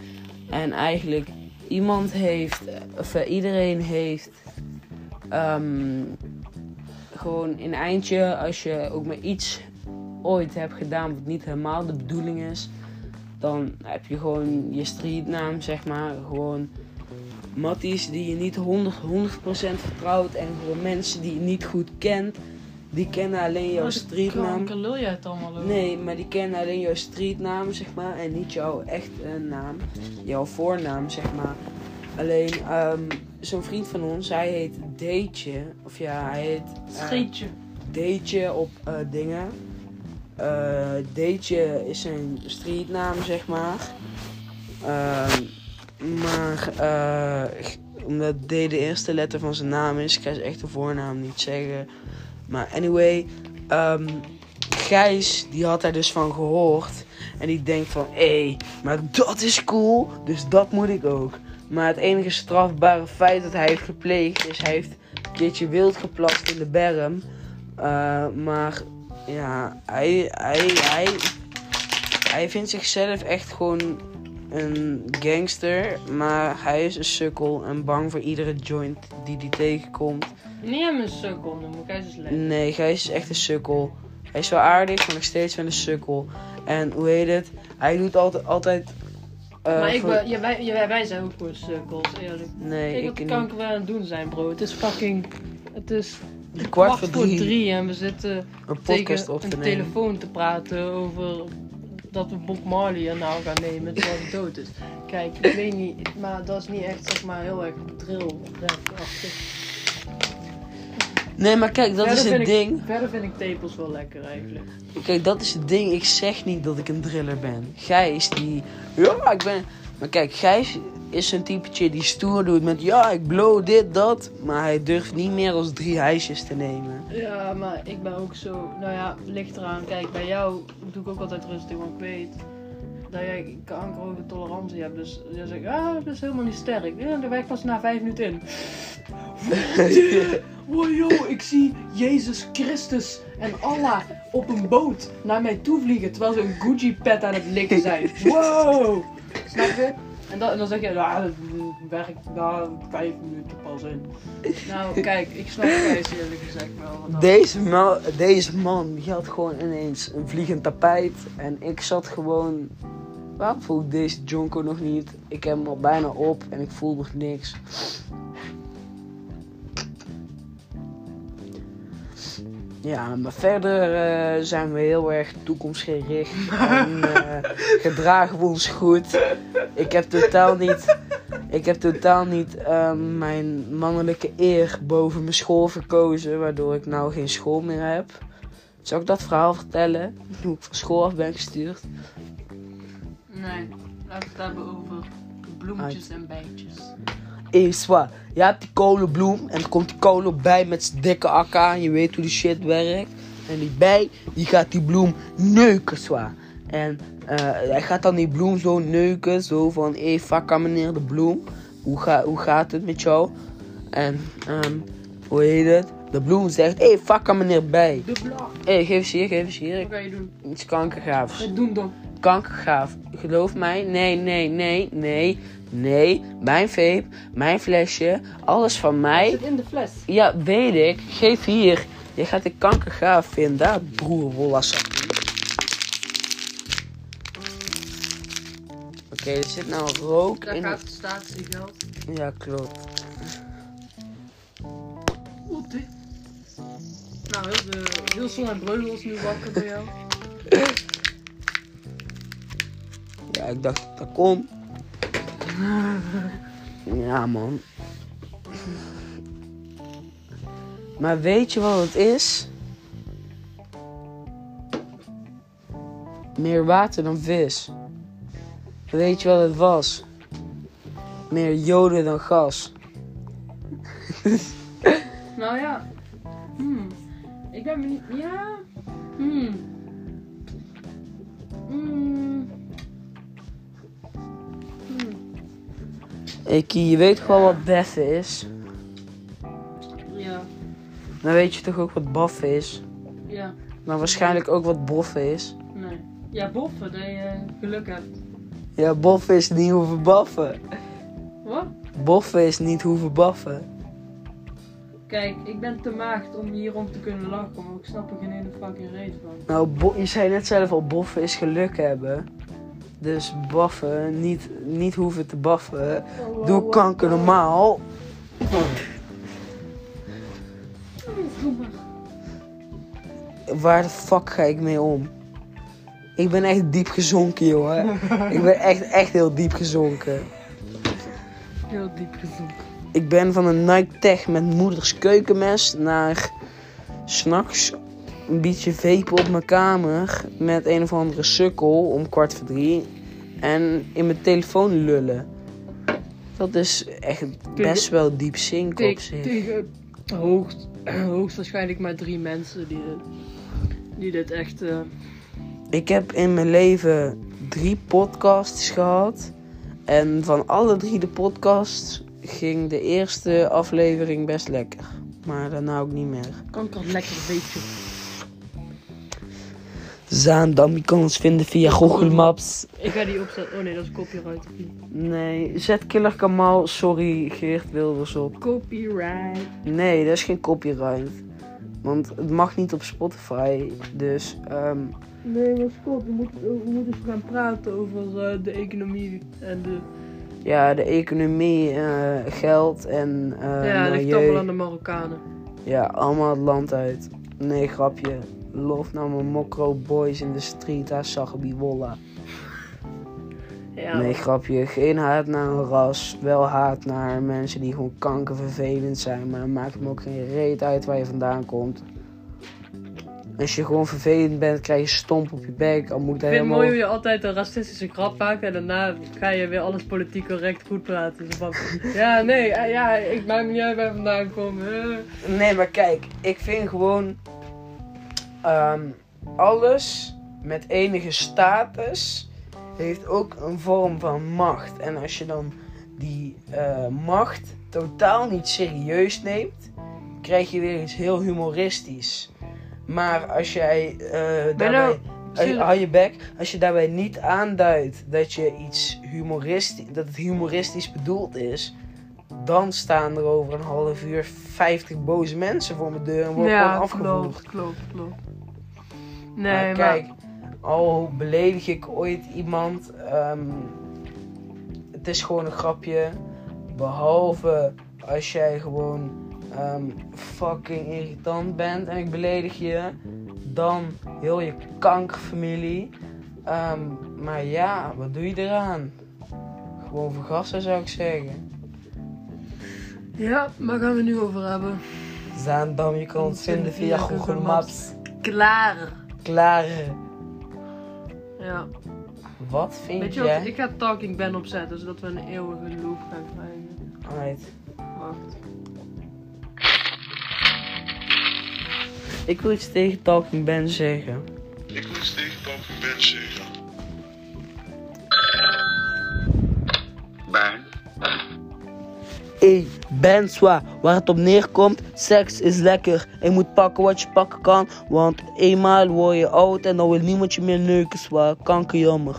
[SPEAKER 5] En eigenlijk iemand heeft, of eh, iedereen heeft ehm, gewoon een eindje als je ook maar iets ooit hebt gedaan wat niet helemaal de bedoeling is. Dan heb je gewoon je streetnaam, zeg maar. Gewoon matties die je niet 100, 100% vertrouwt. En gewoon mensen die je niet goed kent. Die kennen alleen
[SPEAKER 2] Oh,
[SPEAKER 5] jouw streetnaam.
[SPEAKER 2] Kanker, lul jij het allemaal over?
[SPEAKER 5] Nee, maar die kennen alleen jouw streetnaam, zeg maar, en niet jouw echte naam. Jouw voornaam, zeg maar. Alleen, ehm, zo'n vriend van ons, hij heet Deetje. Of ja, hij heet... eh,
[SPEAKER 2] Scheetje.
[SPEAKER 5] Deetje op eh, dingen. Eh Deetje is een streetnaam, zeg maar. Ehm, maar eh, g- omdat D de eerste letter van zijn naam is, kan ze echt de voornaam niet zeggen. Maar anyway, ehm, Gijs, die had daar dus van gehoord. En die denkt van, hé, maar dat is cool, dus dat moet ik ook. Maar het enige strafbare feit dat hij heeft gepleegd is, hij heeft een keertje wild geplast in de berm. Eh, maar ja, hij, hij, hij, hij vindt zichzelf echt gewoon een gangster, maar hij is een sukkel en bang voor iedere joint die hij tegenkomt.
[SPEAKER 2] Niet hem een sukkel noemen, ik hij is een slecht.
[SPEAKER 5] Nee, Gijs is echt een sukkel. Hij is wel aardig, maar nog steeds wel een sukkel. En hoe heet het? Hij doet altijd... altijd eh,
[SPEAKER 2] maar ik,
[SPEAKER 5] voor-
[SPEAKER 2] ben- ja, wij, ja, wij zijn ook gewoon sukkels, eerlijk.
[SPEAKER 5] Nee,
[SPEAKER 2] Kijk wat
[SPEAKER 5] ik,
[SPEAKER 2] de
[SPEAKER 5] niet.
[SPEAKER 2] kanker wel aan het doen zijn, bro. Het is fucking... Het is
[SPEAKER 5] kwart,
[SPEAKER 2] voor drie. en we zitten
[SPEAKER 5] een podcast
[SPEAKER 2] tegen
[SPEAKER 5] op te
[SPEAKER 2] een
[SPEAKER 5] nemen.
[SPEAKER 2] telefoon te praten over dat we Bob Marley er nou gaan nemen terwijl hij dood is. Kijk, ik weet niet, maar dat is niet echt zeg maar heel erg drill rap-achtig.
[SPEAKER 5] Nee, maar kijk, dat
[SPEAKER 2] Verder
[SPEAKER 5] is
[SPEAKER 2] vind
[SPEAKER 5] het
[SPEAKER 2] ik-
[SPEAKER 5] ding.
[SPEAKER 2] Verder vind ik tepels wel lekker eigenlijk.
[SPEAKER 5] Kijk, dat is het ding. Ik zeg niet dat ik een driller ben. Gijs, die... Ja, ik ben... Maar kijk, Gijs is zo'n typetje die stoer doet met... Ja, ik blow dit, dat. Maar hij durft niet meer als drie hijsjes te nemen.
[SPEAKER 2] Ja, maar ik ben ook zo. Nou ja, ligt eraan. Kijk, bij jou doe ik ook altijd rustig, want ik weet dat jij kankerhoge tolerantie hebt. Dus jij zegt, ah, dat is helemaal niet sterk. Ja, dan ben ik pas na vijf minuten in. Wow, joh, ik zie Jezus Christus en Allah op een boot naar mij toe vliegen terwijl ze een Gucci-pet aan het likken zijn. Wow! Snap je? En, dat, en dan zeg je, ah, dat werkt na vijf minuten pas in. Nou, kijk, ik snap Gijs eerlijk gezegd wel. want dat-
[SPEAKER 5] Deze, ma- deze man die had gewoon ineens een vliegend tapijt. En ik zat gewoon. Waarom voel ik deze Jonko nog niet? Ik heb hem al bijna op en ik voel nog niks. Ja, maar verder eh, zijn we heel erg toekomstgericht. En eh, gedragen we ons goed. Ik heb totaal niet. Ik heb totaal niet ehm, mijn mannelijke eer boven mijn school verkozen, waardoor ik nou geen school meer heb. Zal ik dat verhaal vertellen? Hoe ik van school af ben gestuurd?
[SPEAKER 2] Nee, laten we het hebben over bloemetjes en bijtjes.
[SPEAKER 5] Eeswa, je hebt die kolenbloem en er komt die kolen bij met zijn dikke AK en je weet hoe die shit werkt. En die bij, die gaat die bloem neuken, zwa. En eh, hij gaat dan die bloem zo neuken, zo van, hé, fakka meneer de bloem, hoe, ga, hoe gaat het met jou? En, ehm, hoe heet het? De bloem zegt, hé, hey, fakka meneer bij.
[SPEAKER 2] De blad.
[SPEAKER 5] Hé, geef eens hier, geef eens hier,
[SPEAKER 2] Wat
[SPEAKER 5] ik
[SPEAKER 2] ga je doen?
[SPEAKER 5] iets kankergaafs.
[SPEAKER 2] Wat doen dan?
[SPEAKER 5] Kankergaaf, geloof mij, nee, nee, nee, nee, nee. Mijn vape, mijn flesje, alles van mij.
[SPEAKER 2] Zit in de fles.
[SPEAKER 5] Ja, weet ik. Geef hier. Je gaat de kankergaaf vinden, daar, broer Wollas. Oké, er zit nou rook
[SPEAKER 2] Daar
[SPEAKER 5] in.
[SPEAKER 2] gaat statiegeld.
[SPEAKER 5] Ja, klopt.
[SPEAKER 2] Op dit. Nou, heel, de, heel Son en Breugels nu wakker bij jou.
[SPEAKER 5] Ja, ik dacht dat dat kon. Ja, man. Maar weet je wat het is? Meer water dan vis. Weet je wat het was? Meer joden dan gas.
[SPEAKER 2] Nou ja. Hmm. Ik ben benieuwd. Ja. Hmm. Hmm.
[SPEAKER 5] Ikkie, je weet gewoon wat beffen is.
[SPEAKER 2] Ja.
[SPEAKER 5] Dan weet je toch ook wat baffen is.
[SPEAKER 2] Ja.
[SPEAKER 5] Maar waarschijnlijk ook wat boffen is.
[SPEAKER 2] Nee. Ja, boffen, dat je eh, geluk hebt.
[SPEAKER 5] Ja, boffen is niet hoeven baffen.
[SPEAKER 2] Wat?
[SPEAKER 5] Boffen is niet hoeven baffen.
[SPEAKER 2] Kijk, ik ben te maagd om hierom te kunnen lachen, maar ik snap er geen ene fucking reet van.
[SPEAKER 5] Nou, bo- je zei net zelf al, boffen is geluk hebben. Dus baffen, niet, niet hoeven te baffen. Doe kanker normaal. Waar de fuck ga ik mee om? Ik ben echt diep gezonken, jongen. Ik ben echt, echt heel diep gezonken.
[SPEAKER 2] Heel diep gezocht.
[SPEAKER 5] Ik ben van een Nike Tech met moeders keukenmes naar s'nachts een beetje vapen op mijn kamer met een of andere sukkel om kwart voor drie en in mijn telefoon lullen. Dat is echt best wel diep zinken op
[SPEAKER 2] Tegen,
[SPEAKER 5] zich.
[SPEAKER 2] tegen hoogst, hoogstwaarschijnlijk maar drie mensen die, dit- die dit echt... eh,
[SPEAKER 5] Ik heb in mijn leven drie podcasts gehad en van alle drie de podcasts ging de eerste aflevering best lekker. Maar daarna ook niet meer.
[SPEAKER 2] kanker lekker beetje.
[SPEAKER 5] Zaandam. Je kan ons vinden via Google Maps.
[SPEAKER 2] Ik ga die opzetten. Oh nee, dat is copyright of niet?
[SPEAKER 5] Nee, zet Killer Kamal, sorry Geert Wilders op.
[SPEAKER 2] Copyright.
[SPEAKER 5] Nee, dat is geen copyright. Want het mag niet op Spotify. Dus ehm,
[SPEAKER 2] Nee, maar Scott, we moeten, we moeten eh, gaan praten over eh, de economie en de...
[SPEAKER 5] ja, de economie, eh, geld en eh
[SPEAKER 2] ja, dat ligt
[SPEAKER 5] milieu.
[SPEAKER 2] allemaal aan de Marokkanen.
[SPEAKER 5] Ja, allemaal het land uit. Nee, grapje. Lof naar mijn mokro boys in de street, daar zag ik die wolla.
[SPEAKER 2] Ja,
[SPEAKER 5] Nee, grapje. Geen haat naar een ras. Wel haat naar mensen die gewoon kankervervelend zijn. Maar dan maakt het me ook geen reet uit waar je vandaan komt. Als je gewoon vervelend bent, krijg je stomp op je bek. Al moet
[SPEAKER 2] Ik
[SPEAKER 5] dat
[SPEAKER 2] vind het
[SPEAKER 5] helemaal...
[SPEAKER 2] mooi hoe je altijd een racistische grap maakt en daarna ga je weer alles politiek correct goed praten. Zo van, ja, nee, eh, ja, ik maak me niet uit waar vandaan kom. eh.
[SPEAKER 5] Nee, maar kijk, ik vind gewoon ehm, alles met enige status heeft ook een vorm van macht. En als je dan die eh, macht totaal niet serieus neemt, krijg je weer iets heel humoristisch. Maar als jij eh daarbij... eh, Hou je bek. Als je daarbij niet aanduidt dat je iets humoristisch, dat het humoristisch bedoeld is, dan staan er over een half uur 50 boze mensen voor mijn deur en worden gewoon afgevoerd.
[SPEAKER 2] klopt, klopt.
[SPEAKER 5] Maar
[SPEAKER 2] Nee, maar,
[SPEAKER 5] kijk, al beledig ik ooit iemand, ehm, het is gewoon een grapje. Behalve als jij gewoon ehm, fucking irritant bent en ik beledig je, dan heel je kankerfamilie. Ehm, maar ja, wat doe je eraan? Gewoon vergassen zou ik zeggen.
[SPEAKER 2] Ja, waar gaan we nu over hebben?
[SPEAKER 5] Zaandam, je kan ons vinden via Google Maps.
[SPEAKER 2] Klaar.
[SPEAKER 5] Klaar.
[SPEAKER 2] Ja,
[SPEAKER 5] Wat vind
[SPEAKER 2] weet je
[SPEAKER 5] jij?
[SPEAKER 2] wat? Ik ga Talking Ben opzetten, zodat we een eeuwige loop gaan krijgen.
[SPEAKER 5] Alright.
[SPEAKER 2] Wacht.
[SPEAKER 5] Ik wil iets tegen Talking Ben zeggen.
[SPEAKER 6] Ik wil iets tegen Talking Ben zeggen. Ben?
[SPEAKER 5] Ey, Ben Swa, waar het op neerkomt, seks is lekker. Je moet pakken wat je pakken kan, want eenmaal word je oud en dan wil niemand je meer neuken, Swa. Kanker jammer.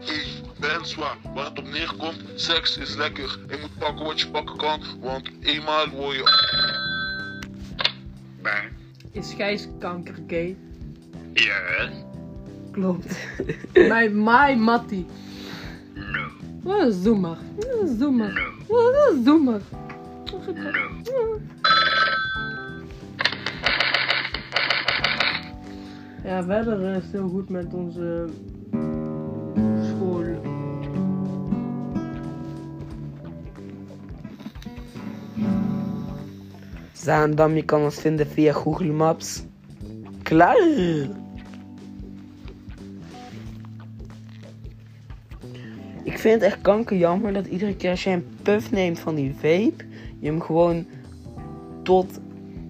[SPEAKER 6] Ik ben zwaar. Waar het op neerkomt, seks is lekker. Je moet pakken wat je pakken kan, want eenmaal word je... Ben?
[SPEAKER 2] Is Gijs kanker gay?
[SPEAKER 6] Ja?
[SPEAKER 2] Klopt. Mijn my Mattie.
[SPEAKER 6] No.
[SPEAKER 2] Wat een zoemer. Wat een zoemer. Wat een zoemer. Ja, verder is het heel goed met onze school.
[SPEAKER 5] Zaandam, je kan ons vinden via Google Maps. Klaar. Ik vind het echt kankerjammer dat iedere keer als jij een puff neemt van die vape, je hem gewoon tot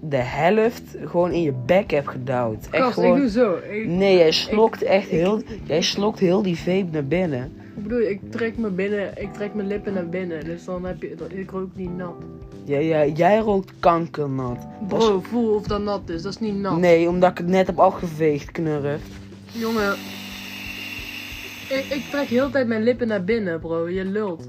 [SPEAKER 5] de helft gewoon in je bek hebt gedouwd. Echt
[SPEAKER 2] Gast, ik
[SPEAKER 5] gewoon...
[SPEAKER 2] doe zo. Ik,
[SPEAKER 5] Nee, jij slokt echt heel, jij slokt heel die vape naar binnen.
[SPEAKER 2] ik bedoel, ik trek me binnen, ik trek mijn lippen naar binnen. Dus dan heb je, dat, ik rook niet nat.
[SPEAKER 5] Jij, jij, jij rookt kankernat.
[SPEAKER 2] Bro, voel of dat nat is. Dat is niet nat.
[SPEAKER 5] Nee, omdat ik het net heb afgeveegd, knurren.
[SPEAKER 2] Jongen. Ik, ik trek heel de tijd mijn lippen naar binnen, bro. Je lult.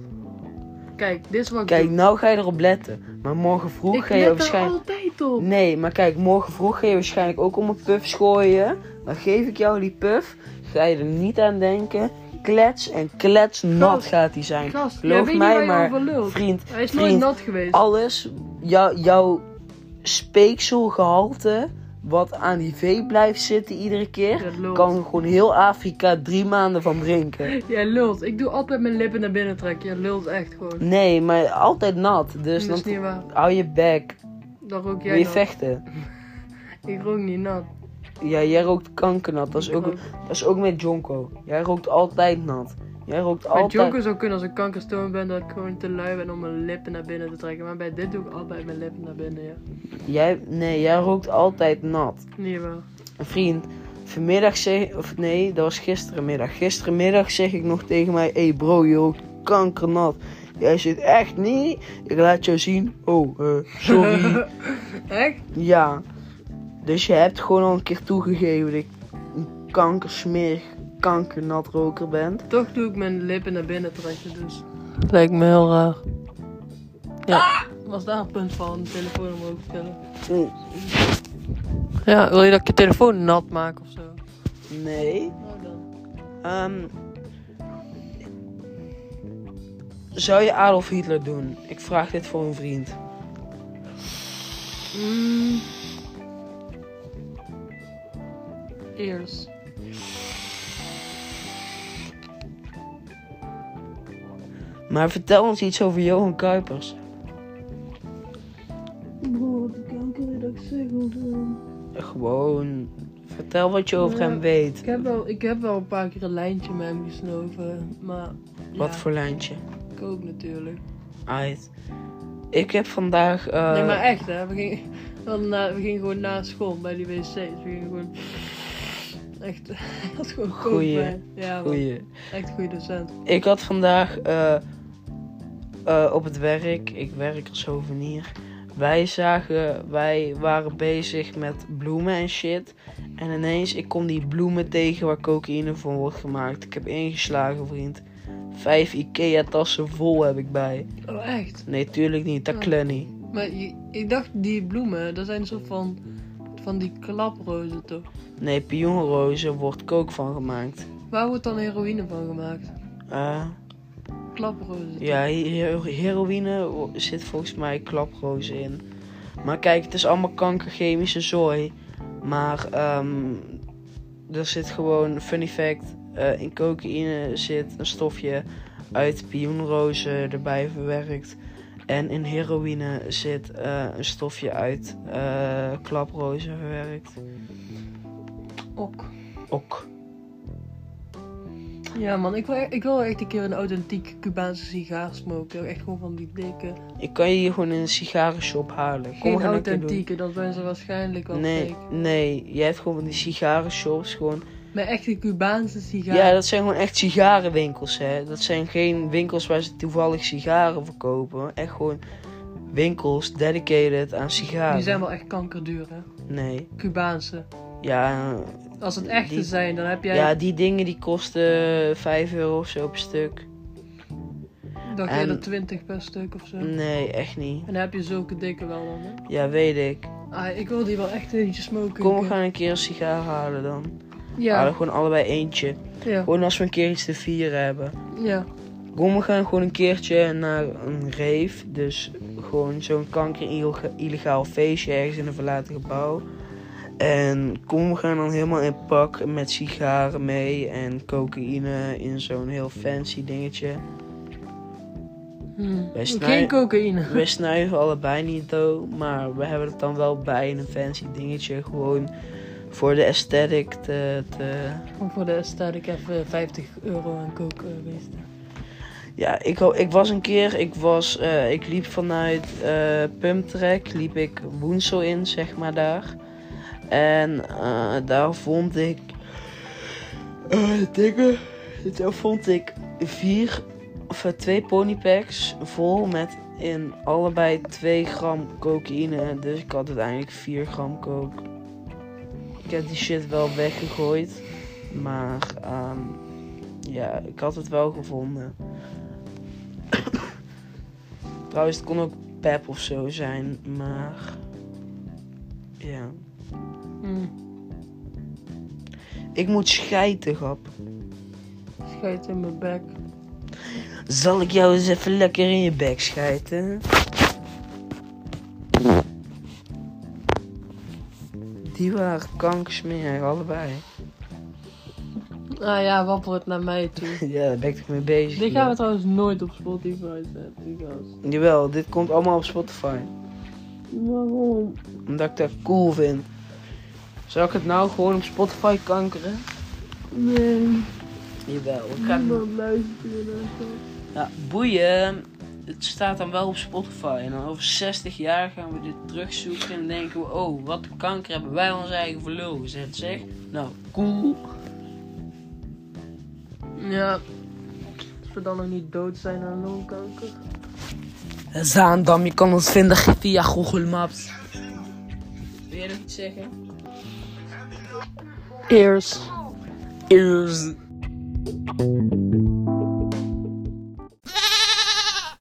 [SPEAKER 2] Kijk, dit is wat ik
[SPEAKER 5] Kijk,
[SPEAKER 2] doe.
[SPEAKER 5] nou ga je erop letten. Maar morgen vroeg
[SPEAKER 2] Ik
[SPEAKER 5] ga je
[SPEAKER 2] let er
[SPEAKER 5] waarschijnlijk.
[SPEAKER 2] altijd op.
[SPEAKER 5] Nee, maar kijk, morgen vroeg ga je waarschijnlijk ook om een puff gooien. Dan geef ik jou die puff. Ga je er niet aan denken. Klets en klets nat
[SPEAKER 2] Gast,
[SPEAKER 5] gaat die zijn.
[SPEAKER 2] gast, jij
[SPEAKER 5] Geloof
[SPEAKER 2] weet niet waar
[SPEAKER 5] mij
[SPEAKER 2] je
[SPEAKER 5] maar,
[SPEAKER 2] over lult.
[SPEAKER 5] vriend.
[SPEAKER 2] Hij is nooit
[SPEAKER 5] vriend
[SPEAKER 2] nat geweest.
[SPEAKER 5] alles, jou, jouw speekselgehalte, wat aan die vee blijft zitten iedere keer,
[SPEAKER 2] Dat lult.
[SPEAKER 5] kan gewoon heel Afrika drie maanden van drinken.
[SPEAKER 2] Jij lult. Ik doe altijd mijn lippen naar binnen trekken. Jij lult echt gewoon.
[SPEAKER 5] Nee, maar altijd nat. Dus
[SPEAKER 2] Dat is
[SPEAKER 5] dan
[SPEAKER 2] niet waar.
[SPEAKER 5] hou je bek.
[SPEAKER 2] Dan rook
[SPEAKER 5] Wil
[SPEAKER 2] jij
[SPEAKER 5] je
[SPEAKER 2] nat.
[SPEAKER 5] vechten?
[SPEAKER 2] Ik rook niet nat.
[SPEAKER 5] Ja, jij rookt kankernat. Dat is
[SPEAKER 2] Ik
[SPEAKER 5] ook,
[SPEAKER 2] rook.
[SPEAKER 5] dat is ook met Jonko. Jij rookt altijd nat. Jij rookt
[SPEAKER 2] Mijn
[SPEAKER 5] altijd...
[SPEAKER 2] joker zou kunnen als ik kankerstoon ben dat ik gewoon te lui ben om mijn lippen naar binnen te trekken. Maar bij dit doe ik altijd mijn lippen naar binnen, ja.
[SPEAKER 5] Jij, nee, jij rookt altijd nat.
[SPEAKER 2] Niet waar.
[SPEAKER 5] Een vriend, vanmiddag zeg of nee, dat was gisterenmiddag. Gisterenmiddag zeg ik nog tegen mij, hé hey bro, je rookt kankernat. Jij zit echt niet. Ik laat jou zien. Oh, eh, sorry.
[SPEAKER 2] Echt?
[SPEAKER 5] ja. Dus je hebt gewoon al een keer toegegeven dat ik een kankersmerig, kankernatroker bent.
[SPEAKER 2] Toch doe ik mijn lippen naar binnen trekken, dus.
[SPEAKER 7] Lijkt me heel raar.
[SPEAKER 2] Ah! Was daar een punt van? Telefoon omhoog tillen.
[SPEAKER 7] Ja, wil je dat ik je telefoon nat maak of zo?
[SPEAKER 5] Nee. Ehm, zou je Adolf Hitler doen? Ik vraag dit voor een vriend.
[SPEAKER 2] Ears.
[SPEAKER 5] Maar vertel ons iets over Johan Kuipers. Gewoon, vertel wat je over
[SPEAKER 2] Ja.
[SPEAKER 5] hem weet.
[SPEAKER 2] Ik heb, wel, ik heb wel een paar keer een lijntje met hem gesnoven, maar. ja,
[SPEAKER 5] Wat voor lijntje?
[SPEAKER 2] Ik ook natuurlijk.
[SPEAKER 5] Uit. Ik heb vandaag. eh,
[SPEAKER 2] Nee, maar echt, hè? We gingen, we hadden na- we gingen gewoon na school bij die wc's. We gingen gewoon. Echt, dat is gewoon
[SPEAKER 5] Goeie.
[SPEAKER 2] goed. Ja, man.
[SPEAKER 5] goeie.
[SPEAKER 2] echt goede docent.
[SPEAKER 5] Ik had vandaag eh, eh, op het werk, ik werk als souvenir. Wij zagen, wij waren bezig met bloemen en shit. En ineens, ik kom die bloemen tegen waar cocaïne van wordt gemaakt. Ik heb ingeslagen, vriend. Vijf Ikea-tassen vol heb ik bij.
[SPEAKER 2] Oh, echt?
[SPEAKER 5] Nee, tuurlijk niet, dat klent niet.
[SPEAKER 2] Maar je- ik dacht, die bloemen, dat zijn een soort van. van die klaprozen toch?
[SPEAKER 5] Nee, pionrozen wordt kook van gemaakt.
[SPEAKER 2] Waar wordt dan heroïne van gemaakt?
[SPEAKER 5] Eh,
[SPEAKER 2] Klaprozen. toch?
[SPEAKER 5] ja, he- heroïne wo- zit volgens mij klaprozen in. Maar kijk, het is allemaal kankerchemische zooi. Maar ehm, er zit gewoon, fun fact, eh, in cocaïne zit een stofje uit pioenrozen erbij verwerkt. En in heroïne zit eh, een stofje uit eh, klaprozen verwerkt.
[SPEAKER 2] Ok.
[SPEAKER 5] Ok.
[SPEAKER 2] Ja, man, ik wil, e- ik wil echt een keer een authentiek Cubaanse sigaar smoken. Echt gewoon van die dikke.
[SPEAKER 5] Ik kan je hier gewoon in een sigarenshop halen. Kom, we
[SPEAKER 2] Geen
[SPEAKER 5] gaan een keer doen.
[SPEAKER 2] authentieke, dat zijn ze waarschijnlijk wel
[SPEAKER 5] Nee,
[SPEAKER 2] fake.
[SPEAKER 5] nee. Jij hebt gewoon van die sigarenshops gewoon.
[SPEAKER 2] Maar echt een Cubaanse
[SPEAKER 5] Ja.
[SPEAKER 2] sigaar.
[SPEAKER 5] dat zijn gewoon echt sigarenwinkels, hè. Dat zijn geen winkels waar ze toevallig sigaren verkopen. Echt gewoon winkels dedicated aan sigaren.
[SPEAKER 2] Die zijn wel echt kankerduur, hè?
[SPEAKER 5] Nee.
[SPEAKER 2] Cubaanse.
[SPEAKER 5] Ja,
[SPEAKER 2] Als het echte
[SPEAKER 5] Die-
[SPEAKER 2] zijn, dan heb jij.
[SPEAKER 5] ja, die dingen die kosten 5 euro of zo per stuk.
[SPEAKER 2] dan geef je er
[SPEAKER 5] en- Mm.
[SPEAKER 2] 20 per stuk of zo. En
[SPEAKER 5] Nee, echt niet.
[SPEAKER 2] dan heb je zulke dikke wel dan, hè?
[SPEAKER 5] Ja, weet ik.
[SPEAKER 2] Ah, ik wil die wel echt eentje smoken.
[SPEAKER 5] Kom,
[SPEAKER 2] Ik-
[SPEAKER 5] we gaan Ah. een keer een sigaar halen dan. Halen
[SPEAKER 2] Ja,
[SPEAKER 5] gewoon allebei eentje.
[SPEAKER 2] ja,
[SPEAKER 5] Gewoon als we een keer iets te vieren hebben.
[SPEAKER 2] ja.
[SPEAKER 5] Kom, we gaan gewoon een keertje naar een rave. Dus gewoon zo'n kanker-illegaal feestje ergens in een verlaten gebouw. En kom, we gaan dan helemaal in pak met sigaren mee en cocaïne in zo'n heel fancy dingetje.
[SPEAKER 2] Hm.
[SPEAKER 5] Wij
[SPEAKER 2] Geen
[SPEAKER 5] snuiven,
[SPEAKER 2] cocaïne.
[SPEAKER 5] we snuiven allebei niet, though, maar we hebben het dan wel bij in een fancy dingetje. Gewoon voor de aesthetic te, te...
[SPEAKER 2] Om Voor de aesthetic even 50 eh, euro aan coke eh, wezen.
[SPEAKER 5] Ja, ik, ho- ik was een keer, ik, was, eh, ik liep vanuit eh Pumptrek, liep ik Woensel in, zeg maar daar. En eh, daar vond ik, eh dikke, daar vond ik vier, of eh, twee ponypacks vol met in allebei 2 gram cocaïne. Dus ik had uiteindelijk 4 gram coke. Ik heb die shit wel weggegooid, maar ehm, ja, ik had het wel gevonden. Trouwens, het kon ook pep of zo zijn, maar. Ja.
[SPEAKER 2] Hm.
[SPEAKER 5] Ik moet schijten, grap.
[SPEAKER 2] Schijt in mijn bek.
[SPEAKER 5] Zal ik jou eens even lekker in je bek schijten? Die waren kankersmerig, allebei.
[SPEAKER 2] Ah ja, wapper het naar mij toe.
[SPEAKER 5] Ja, daar ben ik toch mee bezig.
[SPEAKER 2] Dit gaan we
[SPEAKER 5] joh.
[SPEAKER 2] trouwens nooit op Spotify zetten, die gast.
[SPEAKER 5] Jawel, dit komt allemaal op Spotify.
[SPEAKER 2] Waarom?
[SPEAKER 5] Omdat ik dat cool vind. Zou ik het nou gewoon op Spotify kankeren?
[SPEAKER 2] Nee,
[SPEAKER 5] Jawel, ik ga het doen.
[SPEAKER 2] niemand luistert naar dat.
[SPEAKER 5] Ja, boeien. Het staat dan wel op Spotify. En dan over 60 jaar gaan we dit terugzoeken. En denken we, oh, wat een kanker hebben wij ons eigen voor lul gezet, zeg. Nou, cool.
[SPEAKER 2] Ja. Als we dan nog niet dood zijn aan longkanker.
[SPEAKER 1] Zaandam, je kan ons vinden via Google Maps.
[SPEAKER 5] Wil jij nog iets zeggen?
[SPEAKER 2] Ears.
[SPEAKER 1] ears.
[SPEAKER 5] Thank you.